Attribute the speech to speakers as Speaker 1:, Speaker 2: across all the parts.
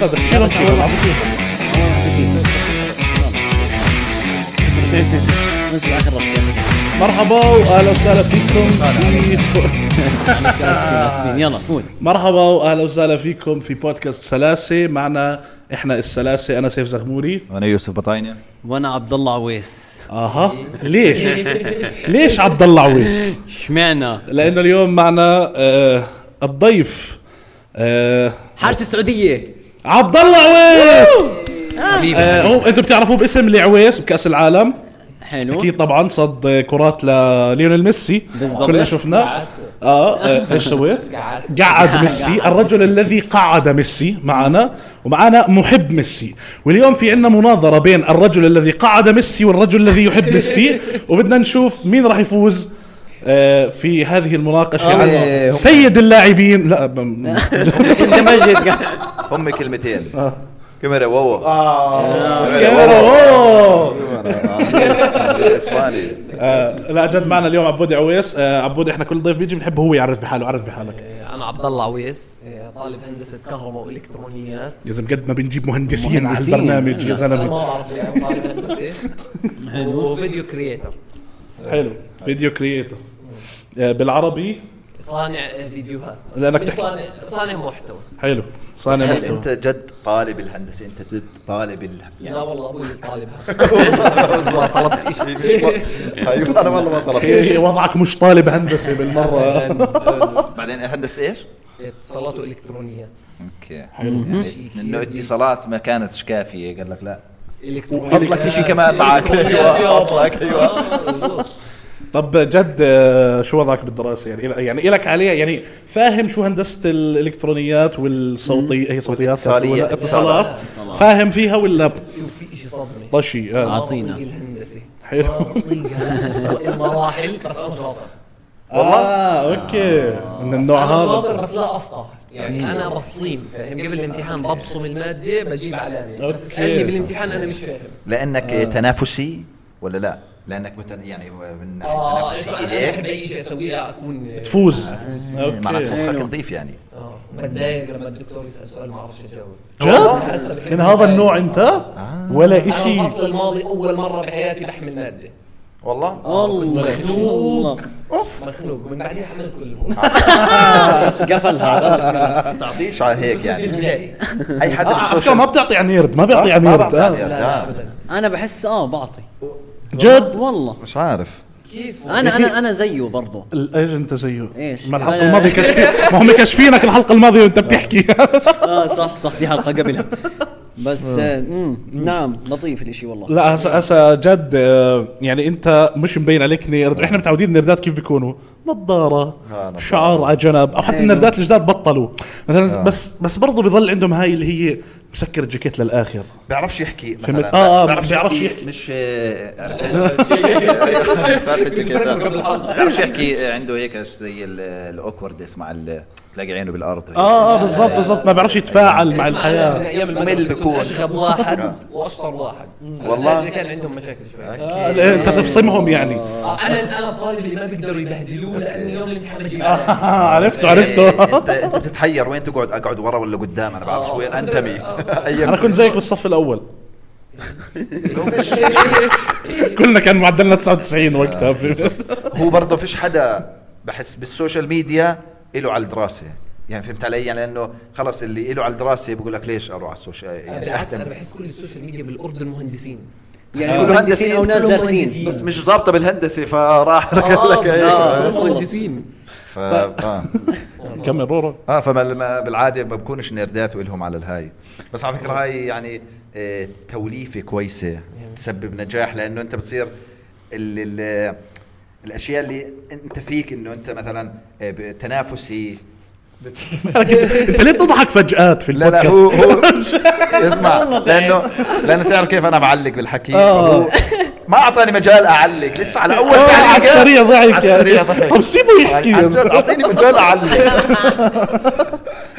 Speaker 1: صدق شيل صدق
Speaker 2: مثل اخر رشقه
Speaker 1: مرحبا واهلا وسهلا فيكم في
Speaker 2: اسفين يلا فوت
Speaker 1: مرحبا واهلا وسهلا فيكم في بودكاست سلاسه معنا احنا السلاسه انا سيف زغموري
Speaker 3: وانا يوسف بطاينه
Speaker 2: وانا عبد الله عويس
Speaker 1: اها ليش ليش عبد الله عويس
Speaker 2: اشمعنا
Speaker 1: لانه اليوم معنا آه الضيف آه
Speaker 4: حارس السعوديه
Speaker 1: عبد الله عويس
Speaker 2: حبيبي
Speaker 1: آه
Speaker 2: حبيبي.
Speaker 1: هو انتم بتعرفوه باسم العويس بكاس العالم
Speaker 2: حلو
Speaker 1: اكيد طبعا صد كرات لليونيل ميسي
Speaker 2: بالضبط.
Speaker 1: كلنا شفناه اه آه، ايش سويت؟ قعد, ميسي الرجل الذي قعد ميسي معنا ومعنا محب ميسي واليوم في عندنا مناظره بين الرجل الذي قعد ميسي والرجل الذي يحب ميسي وبدنا نشوف مين راح يفوز آه، في هذه المناقشه عن
Speaker 5: إيه.
Speaker 1: سيد اللاعبين لا بم-
Speaker 2: انت مجد قاعد.
Speaker 5: هم كلمتين كاميرا واو
Speaker 1: كاميرا، أوه.
Speaker 5: اسباني
Speaker 1: آه، لا جد معنا اليوم عبودي عويس آه، عبودي احنا كل ضيف بيجي بنحبه هو يعرف بحاله عرف بحالك
Speaker 6: انا عبد الله عويس إيه، طالب هندسه كهرباء والكترونيات
Speaker 1: يا زلمه قد ما بنجيب مهندسين,
Speaker 2: مهندسين.
Speaker 1: على البرنامج يا
Speaker 6: أنا
Speaker 1: زلمه
Speaker 6: ما بعرف يعني طالب هندسه وفيديو كرييتر
Speaker 1: حلو فيديو كرييتر آه، بالعربي
Speaker 6: صانع آه، فيديوهات
Speaker 1: لأنك
Speaker 6: مش
Speaker 1: تحكي.
Speaker 6: صانع صانع محتوى
Speaker 1: حلو
Speaker 5: بس
Speaker 1: صانع
Speaker 5: هل
Speaker 1: محتوى.
Speaker 5: انت جد طالب الهندسه انت جد طالب ال...
Speaker 6: لا والله ابوي اللي طالبها أبوي ما طلبت شيء
Speaker 5: ايوه انا والله ما طلبت
Speaker 1: إيه، وضعك مش طالب هندسه بالمره
Speaker 5: بعدين هندسه ايش؟
Speaker 6: إيه، اتصالات والكترونيات
Speaker 5: اوكي يعني انه اتصالات ما كانتش كافيه قال لك لا
Speaker 6: الكترونيات
Speaker 5: حط لك شيء كمان معك ايوه حط لك ايوه
Speaker 6: آه،
Speaker 1: طب جد آه، شو وضعك بالدراسه يعني إلك- يعني الك عليها يعني فاهم شو هندسه الالكترونيات والصوتي هي صوتيات
Speaker 5: والاتصالية.
Speaker 1: ولا اتصالات فاهم فيها ولا
Speaker 6: شوف في شيء صدمه
Speaker 1: طشي آه.
Speaker 2: أعطينا.
Speaker 6: ما بطيق الهندسه
Speaker 1: حلو.
Speaker 6: ما بطيقها لأسوأ المراحل بس انا شاطر
Speaker 1: اه اوكي من النوع
Speaker 6: انا
Speaker 1: هذا
Speaker 6: شاطر بس لا افقه يعني انا بصيم فاهم قبل الامتحان ببصم الماده بجيب علامه
Speaker 1: أوكي.
Speaker 6: بس اسالني بالامتحان انا مش فاهم
Speaker 5: لانك تنافسي ولا لا؟ لانك متن... يعني من ناحيه
Speaker 6: اه
Speaker 5: تنافسيه
Speaker 6: اسمع انا
Speaker 5: اليك
Speaker 6: بحب اي شيء اسويه اكون
Speaker 1: تفوز
Speaker 5: معناته
Speaker 1: اوكي
Speaker 5: مخك نظيف يعني
Speaker 6: اه بتضايق لما الدكتور يسال سؤال ما اعرفش اجاوب
Speaker 1: جد من هذا النوع انت ولا
Speaker 6: انا
Speaker 1: اشي
Speaker 6: الفصل الماضي اول مره بحياتي بحمل ماده
Speaker 5: والله
Speaker 2: الله مخنوق
Speaker 6: مخنوق من بعدها حملت كلهم
Speaker 2: قفلها
Speaker 5: تعطيش على هيك يعني
Speaker 6: بالبدايه
Speaker 5: اي حدا
Speaker 1: على فكرة
Speaker 5: بالسوشيال
Speaker 1: آه، ما بتعطي عن يرد ما بيعطي
Speaker 5: صح؟
Speaker 1: عن
Speaker 5: ما
Speaker 1: يرد
Speaker 5: بعطي عن يرد.
Speaker 1: آه.
Speaker 5: آه.
Speaker 2: انا بحس اه بعطي
Speaker 1: جد
Speaker 2: والله
Speaker 5: مش عارف
Speaker 6: كيف
Speaker 2: انا انا انا زيه برضه
Speaker 1: ال- ايش انت زيه؟
Speaker 2: إيش؟
Speaker 1: ما الحلقة
Speaker 2: أنا-
Speaker 1: الماضية كشفين ما هم كشفينك الحلقة الماضية وانت بتحكي
Speaker 2: اه صح صح في حلقه قبلها بس آه، مم، نعم لطيف الاشي والله
Speaker 1: لا هسا هسا جد آه، يعني انت مش مبين عليك نيرد احنا متعودين النيردات كيف بيكونوا نظارة
Speaker 5: نظارة.
Speaker 1: شعر على جنب او حتى
Speaker 2: حلو.
Speaker 1: النيردات الجداد بطلوا مثلا بس بس برضه بيضل عندهم هاي اللي هي مسكر الجاكيت للاخر
Speaker 5: بيعرفش يحكي
Speaker 1: فهمت؟
Speaker 5: مثلا
Speaker 1: آه، آه،
Speaker 5: بيعرفش
Speaker 1: بيعرفش
Speaker 5: يحكي
Speaker 1: يحكي.
Speaker 5: مش آه، عرفت؟ بيعرف يحكي كيف. بيعرفش يحكي عنده هيك زي ال- الاوكوردنس مع ال- تلاقي عينه بالارض وهيك.
Speaker 1: اه اه بالضبط بالضبط ما بيعرفش يتفاعل مع
Speaker 6: الحياه من
Speaker 1: الحياة
Speaker 6: ايام
Speaker 5: ممل
Speaker 6: المدرسه كنت
Speaker 5: بكون.
Speaker 6: اشغب واحد واشطر واحد
Speaker 5: والله.
Speaker 6: والله كان عندهم مشاكل شوي
Speaker 1: آه، لا، انت تفصمهم يعني
Speaker 6: آه، انا انا الطالب اللي ما بيقدروا يبهدلوه لانه يوم الامتحان بجيب علامه
Speaker 1: آه عرفته
Speaker 5: إيه،
Speaker 1: عرفته
Speaker 5: انت انت تتحير وين تقعد اقعد ورا ولا قدام انا بعرفش
Speaker 6: آه.
Speaker 5: وين انتمي أي
Speaker 1: انا كنت زيك بالصف الاول كلنا كان معدلنا 99 وقتها
Speaker 5: هو برضه فيش حدا بحس بالسوشيال ميديا له على الدراسه يعني فهمت علي يعني لانه خلص اللي له على الدراسه بقول لك ليش اروح على السوشيال يعني
Speaker 6: بالعكس انا
Speaker 5: اهتم
Speaker 6: بحس كل السوشيال ميديا بالاردن مهندسين
Speaker 2: يعني
Speaker 5: كلهم
Speaker 2: مهندسين او ناس
Speaker 6: كلهم
Speaker 2: دارسين
Speaker 6: مهندسين.
Speaker 5: بس مش ظابطه بالهندسه فراح قال لك
Speaker 2: بالظبط.
Speaker 5: هيك
Speaker 2: آه.
Speaker 6: مهندسين
Speaker 5: ف... آه.
Speaker 1: كمل رورو
Speaker 5: اه فما ما- بالعاده ما بكونش نيردات والهم على الهاي بس على فكره هاي يعني آه، توليفه كويسه تسبب نجاح لانه انت بتصير ال ال الاشياء اللي انت فيك انه انت مثلا آه، ب- تنافسي بت-
Speaker 1: انت ليه بتضحك فجأات في
Speaker 5: لا لا
Speaker 1: البودكاست
Speaker 5: هو هو اسمع
Speaker 1: طيب.
Speaker 5: لانه لانه تعرف كيف انا بعلق بالحكي فهو ما اعطاني مجال اعلق لسه على اول
Speaker 1: آه،
Speaker 5: تعليقه
Speaker 1: على السريع ضحك
Speaker 5: على السريع
Speaker 1: يعني.
Speaker 5: ضحك
Speaker 1: طب سيبه يحكي
Speaker 5: عن جد اعطيني مجال اعلق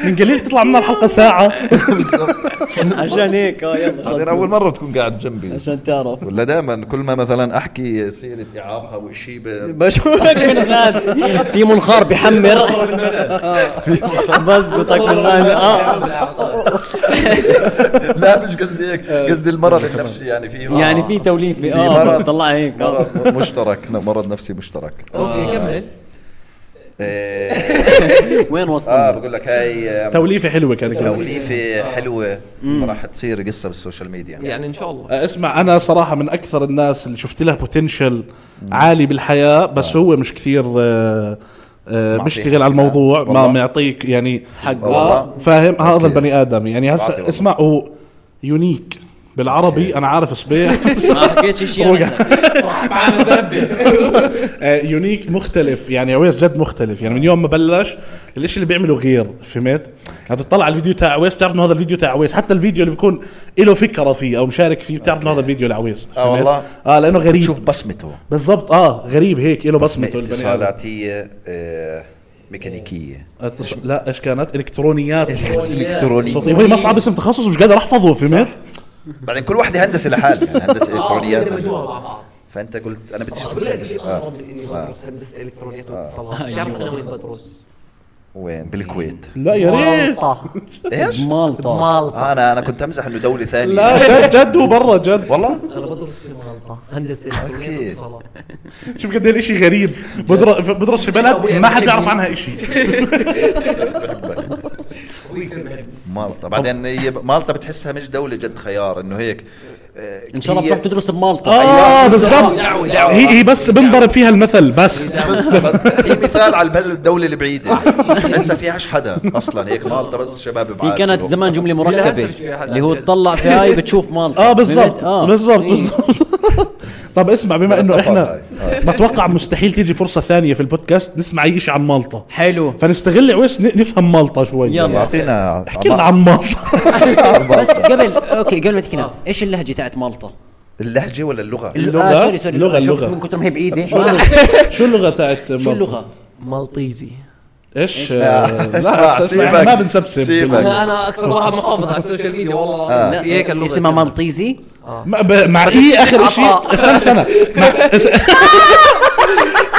Speaker 1: من قليل تطلع منا الحلقه ساعه
Speaker 2: عشان هيك اه يلا
Speaker 5: بعدين
Speaker 2: خلاص.
Speaker 5: اول مره بتكون قاعد جنبي
Speaker 2: عشان تعرف
Speaker 5: ولا دائما كل ما مثلا احكي سيره اعاقه وشيء
Speaker 2: بشوفك من غاد في منخار بحمر
Speaker 6: ضرب المدد
Speaker 1: طيب،
Speaker 2: بزبطك من
Speaker 6: ضرب
Speaker 2: غاد
Speaker 6: المدد
Speaker 2: اه
Speaker 1: آه.
Speaker 5: لا مش قصدي هيك قصدي المرض النفسي يعني في
Speaker 2: يعني في توليفه
Speaker 5: في مرض.
Speaker 2: اه طلع هيك اه
Speaker 5: مرض مشترك لا، مرض نفسي مشترك
Speaker 1: آه.
Speaker 6: اوكي كمل
Speaker 5: إيه،
Speaker 2: وين
Speaker 1: آه.
Speaker 5: اه
Speaker 2: وصلنا؟
Speaker 5: بقول لك هاي آم،
Speaker 1: توليفه حلوه كانت
Speaker 5: توليفه حلوه راح تصير قصه بالسوشيال ميديا
Speaker 6: يعني ان شاء
Speaker 1: آه.
Speaker 6: الله
Speaker 1: اسمع انا صراحه من اكثر الناس اللي شفت لها بوتنشل عالي بالحياه بس هو مش كثير آه، آه،
Speaker 5: نعم. ما
Speaker 1: بيشتغل
Speaker 5: فيه
Speaker 1: على الموضوع
Speaker 5: والله.
Speaker 1: ما معطيك يعني آه،
Speaker 2: حقه.
Speaker 5: والله.
Speaker 1: فاهم هذا
Speaker 5: أكيد.
Speaker 1: البني ادم يعني
Speaker 5: بعطي
Speaker 1: هسه
Speaker 5: والله.
Speaker 1: اسمع هو يونيك بالعربي انا عارف صبيح
Speaker 2: ما حكيتش شيء
Speaker 1: رجع.
Speaker 2: أنا.
Speaker 6: معنا زبده
Speaker 1: آه، يونيك مختلف يعني عويس جد مختلف يعني من يوم ما بلش الاشي اللي بيعمله غير فهمت يعني تطلع على الفيديو تاع عويس بتعرف انه هذا الفيديو تاع عويس حتى الفيديو اللي بيكون له فكره فيه او مشارك فيه بتعرف انه هذا الفيديو لعويس
Speaker 5: آه،
Speaker 1: فهمت؟
Speaker 5: والله.
Speaker 1: اه لانه غريب
Speaker 5: شوف بصمته
Speaker 1: بالضبط اه غريب هيك له بصمته البني آدم.
Speaker 5: اتصالاتيه آه، ميكانيكيه
Speaker 1: اتص- لا ايش كانت الكترونيات صوتي
Speaker 5: الكترونيه
Speaker 1: وهي مصعب اسم تخصص مش قادر احفظه فهمت
Speaker 5: بعدين يعني كل واحده هندسه لحالها يعني هندسه
Speaker 6: اه
Speaker 5: الكترونيات
Speaker 6: دمجوها مع
Speaker 1: آه.
Speaker 6: بعض
Speaker 5: فانت قلت انا بدي اشوف
Speaker 6: اقول لك شيء
Speaker 5: آه.
Speaker 6: اغرب من اني بدرس هندسه الكترونيات واتصالات
Speaker 1: آه.
Speaker 6: بتعرف انا وين بدرس؟
Speaker 5: وين بالكويت
Speaker 1: لا أيوة. يا ريت
Speaker 6: مالطا
Speaker 5: ايش؟
Speaker 2: مالطا
Speaker 6: مالطا
Speaker 5: آه انا انا كنت امزح انه دوله ثانيه
Speaker 1: لا جد جد وبرا جد
Speaker 5: والله
Speaker 6: انا بدرس في مالطا هندسه الكترونيات
Speaker 5: أكيد.
Speaker 6: واتصالات
Speaker 1: شوف قد ايه الشيء غريب بدرس بدرس في بلد ما حد بيعرف عنها شيء
Speaker 5: مالطا بعدين هي مالطا بتحسها مش دوله جد خيار انه هيك آه،
Speaker 2: ان شاء الله
Speaker 5: هي-
Speaker 2: بتروح تدرس بمالطا
Speaker 1: اه بالضبط
Speaker 6: دعوة- دعوة.
Speaker 1: هي هي بس بنضرب فيها المثل بس
Speaker 5: بس بس هي مثال على البلد الدوله البعيده لسه فيهاش حدا اصلا هيك مالطا بس شباب بعاد
Speaker 2: هي كانت
Speaker 5: كلهم.
Speaker 2: زمان جمله
Speaker 6: للأسف
Speaker 2: مركبه
Speaker 6: مش فيها حد
Speaker 2: اللي هو
Speaker 6: عن جد.
Speaker 2: تطلع في هاي بتشوف مالطا
Speaker 1: اه بالضبط
Speaker 2: فهمت؟ آه.
Speaker 1: بالضبط
Speaker 2: إيه.
Speaker 1: بالضبط طب اسمع بما انه احنا
Speaker 5: هاي.
Speaker 1: بتوقع مستحيل تيجي فرصه ثانيه في البودكاست نسمع اي شيء عن مالطا
Speaker 2: حلو
Speaker 1: فنستغل عويس ن- نفهم مالطا شوي
Speaker 2: يلا.
Speaker 5: اعطينا
Speaker 1: احكي لنا عن مالطا آه.
Speaker 2: بس قبل اوكي قبل ما تحكينا ايش اللهجه تاعت مالطا؟
Speaker 5: اللهجه ولا اللغه؟
Speaker 1: اللغة؟
Speaker 2: آه سوري سوري
Speaker 1: اللغة،
Speaker 2: شفت
Speaker 1: اللغة.
Speaker 2: من كتر ما هي بعيده
Speaker 1: شو اللغه تاعت
Speaker 2: شو
Speaker 1: مالطا؟
Speaker 2: اللغه؟
Speaker 6: مالطيزي
Speaker 1: ايش
Speaker 5: لا،
Speaker 1: آه،
Speaker 5: اسمع،
Speaker 1: لا اسمع، إحنا
Speaker 5: سيبك.
Speaker 1: ما بنسبسب
Speaker 5: سيبك.
Speaker 1: بال-
Speaker 6: انا انا اكثر واحد محافظ على السوشيال ميديا والله في هيك اللغه
Speaker 2: آه. اسمها مالطيزي
Speaker 1: ما ب- مع ايه اخر شيء
Speaker 6: عطاء.
Speaker 1: استنى استنى مع اس-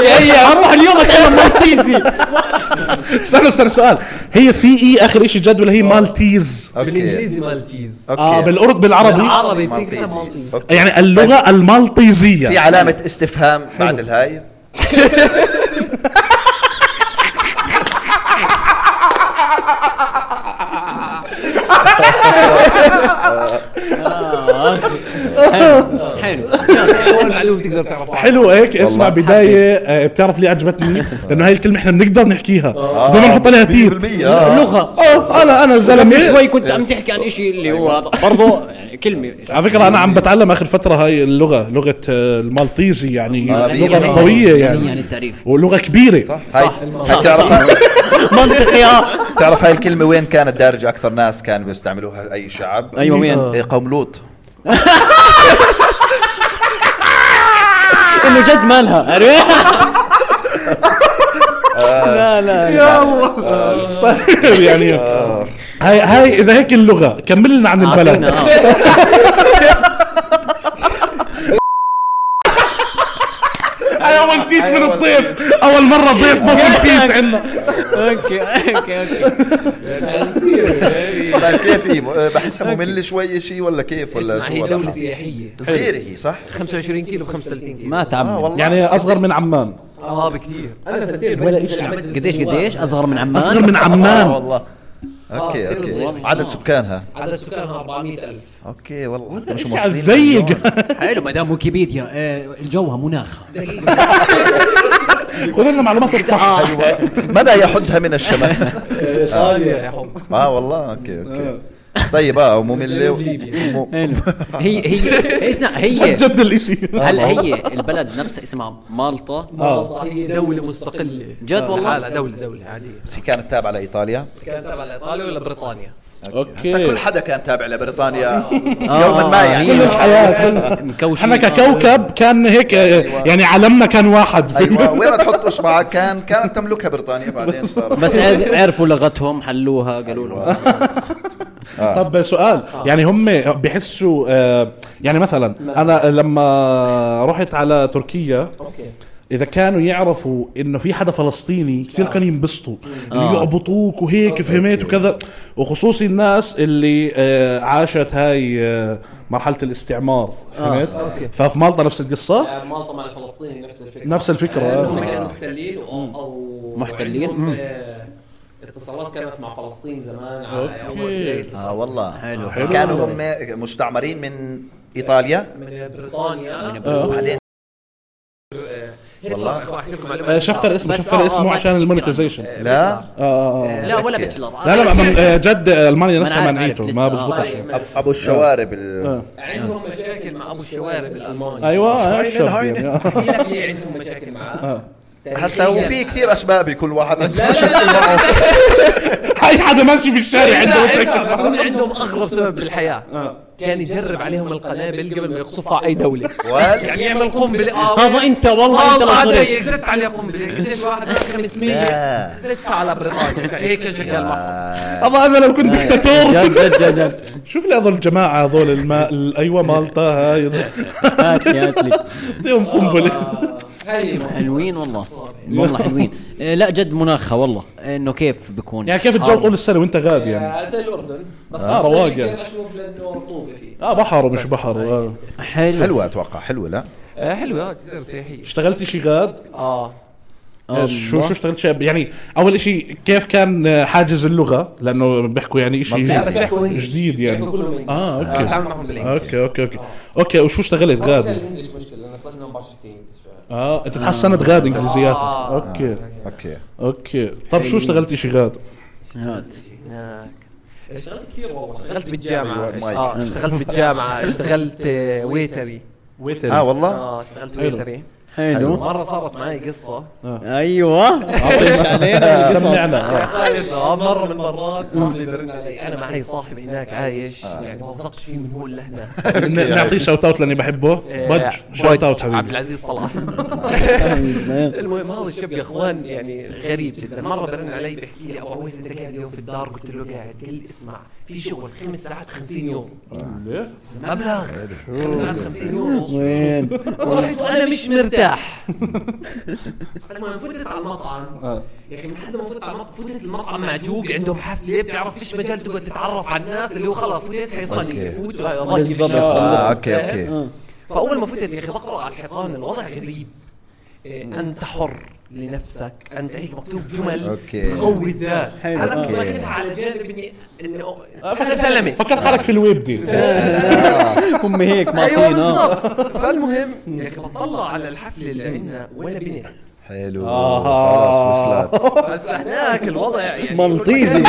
Speaker 2: يا اي اروح اليوم اتعلم مالطيزي
Speaker 1: استنى استنى سؤال هي في ايه اخر شيء جد ولا هي مالتيز؟
Speaker 5: اوكي
Speaker 6: بالانجليزي مالتيز
Speaker 2: آه،
Speaker 1: اه
Speaker 5: اوكي
Speaker 1: بالأورد بالعربي
Speaker 6: بالعربي بتكتب
Speaker 5: مالطيزي.
Speaker 6: مالطيزي
Speaker 5: أوكي.
Speaker 1: يعني اللغه المالطيزيه
Speaker 5: في علامه استفهام بعد الهاي
Speaker 2: حلو
Speaker 6: اول معلومه تقدر تعرفها
Speaker 1: حلو هيك اسمع
Speaker 5: والله.
Speaker 1: بدايه آه، بتعرف ليه عجبتني لانه هاي الكلمه احنا بنقدر نحكيها
Speaker 5: آه.
Speaker 1: بدنا نحط عليها تيت
Speaker 5: 100% آه.
Speaker 2: لغه
Speaker 1: اه انا انا
Speaker 2: قبل
Speaker 1: زلمه
Speaker 2: شوي كنت عم تحكي عن إشي اللي هو
Speaker 1: أيوة.
Speaker 2: هذا برضه يعني كلمه
Speaker 1: على فكره انا عم بتعلم اخر فتره هاي اللغه لغه آه، المالطيزي يعني
Speaker 5: المالطيزي.
Speaker 1: لغه قويه يعني
Speaker 2: يعني التعريف
Speaker 1: ولغه كبيره
Speaker 5: هاي هاي تعرف
Speaker 2: منطقي اه
Speaker 5: تعرف هاي الكلمه وين كانت دارجه اكثر ناس كانوا بيستعملوها اي شعب
Speaker 2: ايوه
Speaker 1: آه.
Speaker 2: وين؟
Speaker 5: إيه، قوم لوط
Speaker 2: انه جد مالها عرفت؟ لا لا
Speaker 1: يا الله طيب يعني هاي هاي اذا هيك اللغه كمل لنا عن البلد
Speaker 2: أعطينا، آه.
Speaker 1: هاي اول تيت من الضيف اول مره ضيف بطل تيت عندنا
Speaker 2: اوكي اوكي اوكي
Speaker 5: طيب كيف هي م- بحسها ممل شوي شيء ولا كيف ولا
Speaker 6: اسمع
Speaker 5: شو
Speaker 6: هي دوله
Speaker 5: وضعها؟
Speaker 6: سياحيه
Speaker 5: صغيره هي صح
Speaker 6: 25 كيلو ب 35 كيلو
Speaker 2: ما
Speaker 5: اه
Speaker 2: تعمم
Speaker 5: والله
Speaker 1: يعني اصغر من عمان
Speaker 6: اه بكثير انا سنتين ولا
Speaker 2: قديش قديش اصغر من عمان
Speaker 1: اصغر من
Speaker 5: آه
Speaker 1: عمان
Speaker 5: والله اوكي
Speaker 6: آه، كثير
Speaker 5: اوكي
Speaker 6: صغيرة.
Speaker 5: عدد سكانها
Speaker 6: عدد سكانها 400000
Speaker 5: اوكي والله انت مش
Speaker 1: إيش
Speaker 5: موصلين
Speaker 1: عالضيق؟
Speaker 5: لهون.
Speaker 2: حلو مدام ويكيبيديا آه، الجوها مناخ
Speaker 6: دقيقه
Speaker 1: خذ لنا معلومات الطقس
Speaker 5: أيوة. ماذا يحدها من الشمال
Speaker 6: ايطاليا يا حب
Speaker 5: اه والله اوكي اوكي طيب اه مملة و- م-
Speaker 2: هي هي اسمع هي
Speaker 1: جد الاشي
Speaker 2: هلا هي البلد نفسها اسمها مالطا
Speaker 6: مالطا هي دوله مستقله
Speaker 2: آه. جد والله؟
Speaker 6: لا لا دوله دوله عاديه
Speaker 5: بس هي كانت تابعة لإيطاليا
Speaker 6: كانت تبع ايطاليا ولا بريطانيا
Speaker 5: هسا كل
Speaker 1: اوكي
Speaker 5: حدا كان تابع
Speaker 2: آه.
Speaker 5: لبريطانيا أيوة.
Speaker 1: آه،
Speaker 5: يوما ما
Speaker 1: كل
Speaker 5: يعني
Speaker 1: الحياه كل-
Speaker 2: مكوشين
Speaker 1: احنا ككوكب كان هيك آه، يعني علمنا كان واحد في
Speaker 5: ايوه وين ما تحط اصبعك كان كانت تملكها بريطانيا بعدين صار
Speaker 2: بس عر- عرفوا لغتهم حلوها قالوا لهم
Speaker 1: طب سؤال يعني هم بحسوا آه، يعني مثلا انا لما رحت على تركيا
Speaker 6: اوكي
Speaker 1: اذا كانوا يعرفوا انه في حدا فلسطيني كثير كانوا ينبسطوا اللي
Speaker 2: آه.
Speaker 1: يعبطوك وهيك فهمت وكذا وخصوصي الناس اللي آه، عاشت هاي آه، مرحله الاستعمار
Speaker 2: آه،
Speaker 1: فهمت ففي مالطا نفس القصه
Speaker 6: آه، مالطا مع الفلسطيني نفس الفكره
Speaker 1: نفس الفكرة،
Speaker 6: آه،
Speaker 1: آه.
Speaker 6: هم كانوا محتلين و- او
Speaker 2: محتلين؟
Speaker 6: وعندهم،
Speaker 2: مم.
Speaker 6: آه، اتصالات كانت مع فلسطين زمان على
Speaker 1: أوكي.
Speaker 6: اول بداية
Speaker 5: اه والله
Speaker 2: حلو، حلو.
Speaker 5: كانوا هم مستعمرين من ايطاليا
Speaker 6: من بريطانيا
Speaker 2: من
Speaker 6: آه،
Speaker 5: وبعدين
Speaker 6: هيك
Speaker 5: والله.
Speaker 6: طبعاً، أحكي لكم معلومة.
Speaker 1: آه، شفر اسمه
Speaker 2: بس
Speaker 1: شفر
Speaker 2: آه، آه،
Speaker 1: اسمه
Speaker 2: ما
Speaker 1: عشان
Speaker 2: تذكر.
Speaker 1: المونتيزيشن
Speaker 6: آه،
Speaker 5: لا
Speaker 1: آه آه آه.
Speaker 2: لا ولا
Speaker 5: أوكي.
Speaker 2: بتلر
Speaker 1: لا لا من- آه، جد آه، المانيا
Speaker 2: ما أنا
Speaker 1: نفسها
Speaker 2: عارف-
Speaker 1: مانعته
Speaker 2: عارف
Speaker 1: ما
Speaker 2: لسه، آه.
Speaker 1: بزبطها
Speaker 6: طيب،
Speaker 1: شيء
Speaker 6: ما-
Speaker 5: ابو الشوارب ال...
Speaker 6: عندهم مشاكل مع ابو الشوارب
Speaker 2: آه.
Speaker 6: الالماني
Speaker 1: ايوه
Speaker 5: شوينن
Speaker 1: الشرب
Speaker 5: هاينن.
Speaker 1: يعني.
Speaker 6: احكي لك ليه عندهم مشاكل
Speaker 1: آه.
Speaker 6: معاه
Speaker 5: هسا هو في كثير اسباب كل واحد عنده
Speaker 6: لا لا لا
Speaker 1: اي حدا ماشي في الشارع عنده
Speaker 6: لا،
Speaker 1: مشاكل.
Speaker 6: لا، بس هم عندهم اغرب سبب بالحياه
Speaker 1: آه.
Speaker 6: كان يجرب عليهم القنابل قبل ما يقصفها اي دوله
Speaker 5: وال-
Speaker 6: يعني يعمل قنبله اه
Speaker 2: هذا انت والله انت
Speaker 6: آه، والله
Speaker 2: الأصلي.
Speaker 6: هذا زدت عليه قنبله قديش واحد 500
Speaker 5: لا.
Speaker 6: زدت على بريطانيا هيك شغال معهم
Speaker 1: الله انا لو كنت
Speaker 6: إيه.
Speaker 1: دكتاتور
Speaker 2: جد جد جد جد
Speaker 1: شوف لي هذول الجماعه هذول الماء ال- ايوه مالطا هاي
Speaker 2: هات لي هات لي
Speaker 1: اعطيهم
Speaker 6: آه.
Speaker 1: قنبله
Speaker 6: هاي ما-
Speaker 2: حلوين والله والله حلوين آه، لا جد مناخها والله انه كيف بيكون
Speaker 1: يعني كيف الجو طول السنه وانت غاد يعني
Speaker 6: آه، زي الاردن بس
Speaker 1: آه،
Speaker 6: بس
Speaker 1: رواق
Speaker 6: كثير
Speaker 1: يعني.
Speaker 6: اشوف لانه رطوبه فيه
Speaker 1: اه بحر ومش بحر
Speaker 6: طيب.
Speaker 1: آه.
Speaker 2: حلو
Speaker 5: حلوه اتوقع حلوه لا
Speaker 6: آه، حلوه آه، تصير سياحيه
Speaker 1: اشتغلت شيء غاد
Speaker 6: اه
Speaker 1: آه، شو
Speaker 6: أيوة.
Speaker 1: شو اشتغلت شيء يعني اول شيء كيف كان آه، حاجز اللغه لانه بيحكوا يعني
Speaker 5: لا،
Speaker 6: بس
Speaker 1: شيء
Speaker 6: يحكوا انجلش
Speaker 1: جديد يعني
Speaker 6: يحكوا كلهم انجلش
Speaker 1: آه، أوكي. آه،
Speaker 6: بتعامل معهم بالانجلش
Speaker 1: اوكي اوكي اوكي اوكي وشو اشتغلت
Speaker 6: آه،
Speaker 1: غاد
Speaker 6: الانجلش مشكله انا طلعت من 24
Speaker 1: اه انت تحسنت غاد انجليزياتك
Speaker 6: آه. أيوة.
Speaker 1: اوكي
Speaker 5: اوكي
Speaker 1: اوكي طب شو اشتغلت شيء غاد
Speaker 2: هات
Speaker 6: هناك اشتغلت كثير والله آه، اشتغلت بالجامعه
Speaker 5: أيوة، مايك.
Speaker 6: اه اشتغلت بالجامعه اشتغلت آه، ويتري
Speaker 1: ويتر
Speaker 5: اه والله
Speaker 6: اه اشتغلت ويتري
Speaker 2: حلو
Speaker 6: مره صارت معي قصه
Speaker 2: ايوه
Speaker 1: آه، سمعنا آه.
Speaker 6: خالص اه مره من المرات صاحبي برن علي انا معي صاحب هناك عايش يعني
Speaker 1: آه.
Speaker 6: ما وثقت فيه من هون لهنا
Speaker 1: ن- نعطيه شوت اوت لاني بحبه بج شوت اوت
Speaker 6: آه، عبد
Speaker 1: حبيبي
Speaker 6: العزيز صلاح المهم هذا الشاب يا اخوان يعني غريب جدا مره برن علي بيحكي لي ابو عويس انت قاعد اليوم في الدار قلت له قاعد قال لي اسمع في شغل خمس ساعات 50 يورو مبلغ خمس ساعات 50 يورو
Speaker 2: وين
Speaker 6: رحت وانا مش مرتاح المهم فتت على المطعم يا اخي من حد ما فتت على المطعم فتت المطعم معجوق عندهم حفله بتعرف فيش مجال تقعد تتعرف على الناس اللي هو خلاص فتت هيصلي فوت ضيف
Speaker 2: بالضبط.
Speaker 5: آه، اوكي اوكي
Speaker 6: فاول ما فتت يا اخي بقرا على الحيطان الوضع غريب إيه، انت حر لنفسك انت هيك مكتوب جمل
Speaker 5: أوكي.
Speaker 6: تقوي الذات
Speaker 2: حلو،
Speaker 6: انا كنت
Speaker 5: أوكي.
Speaker 6: واخذها على جانب اني انه انا زلمه
Speaker 1: فكرت حالك في الويب دي
Speaker 2: هم هيك
Speaker 6: ايوه
Speaker 2: معطينا
Speaker 6: بالضبط فالمهم يا اخي بطلع على الحفله اللي عندنا ولا بنت
Speaker 5: حلو
Speaker 2: آه.
Speaker 1: آها.
Speaker 5: خلاص وصلت
Speaker 6: بس هناك الوضع يعني
Speaker 2: مالطيزي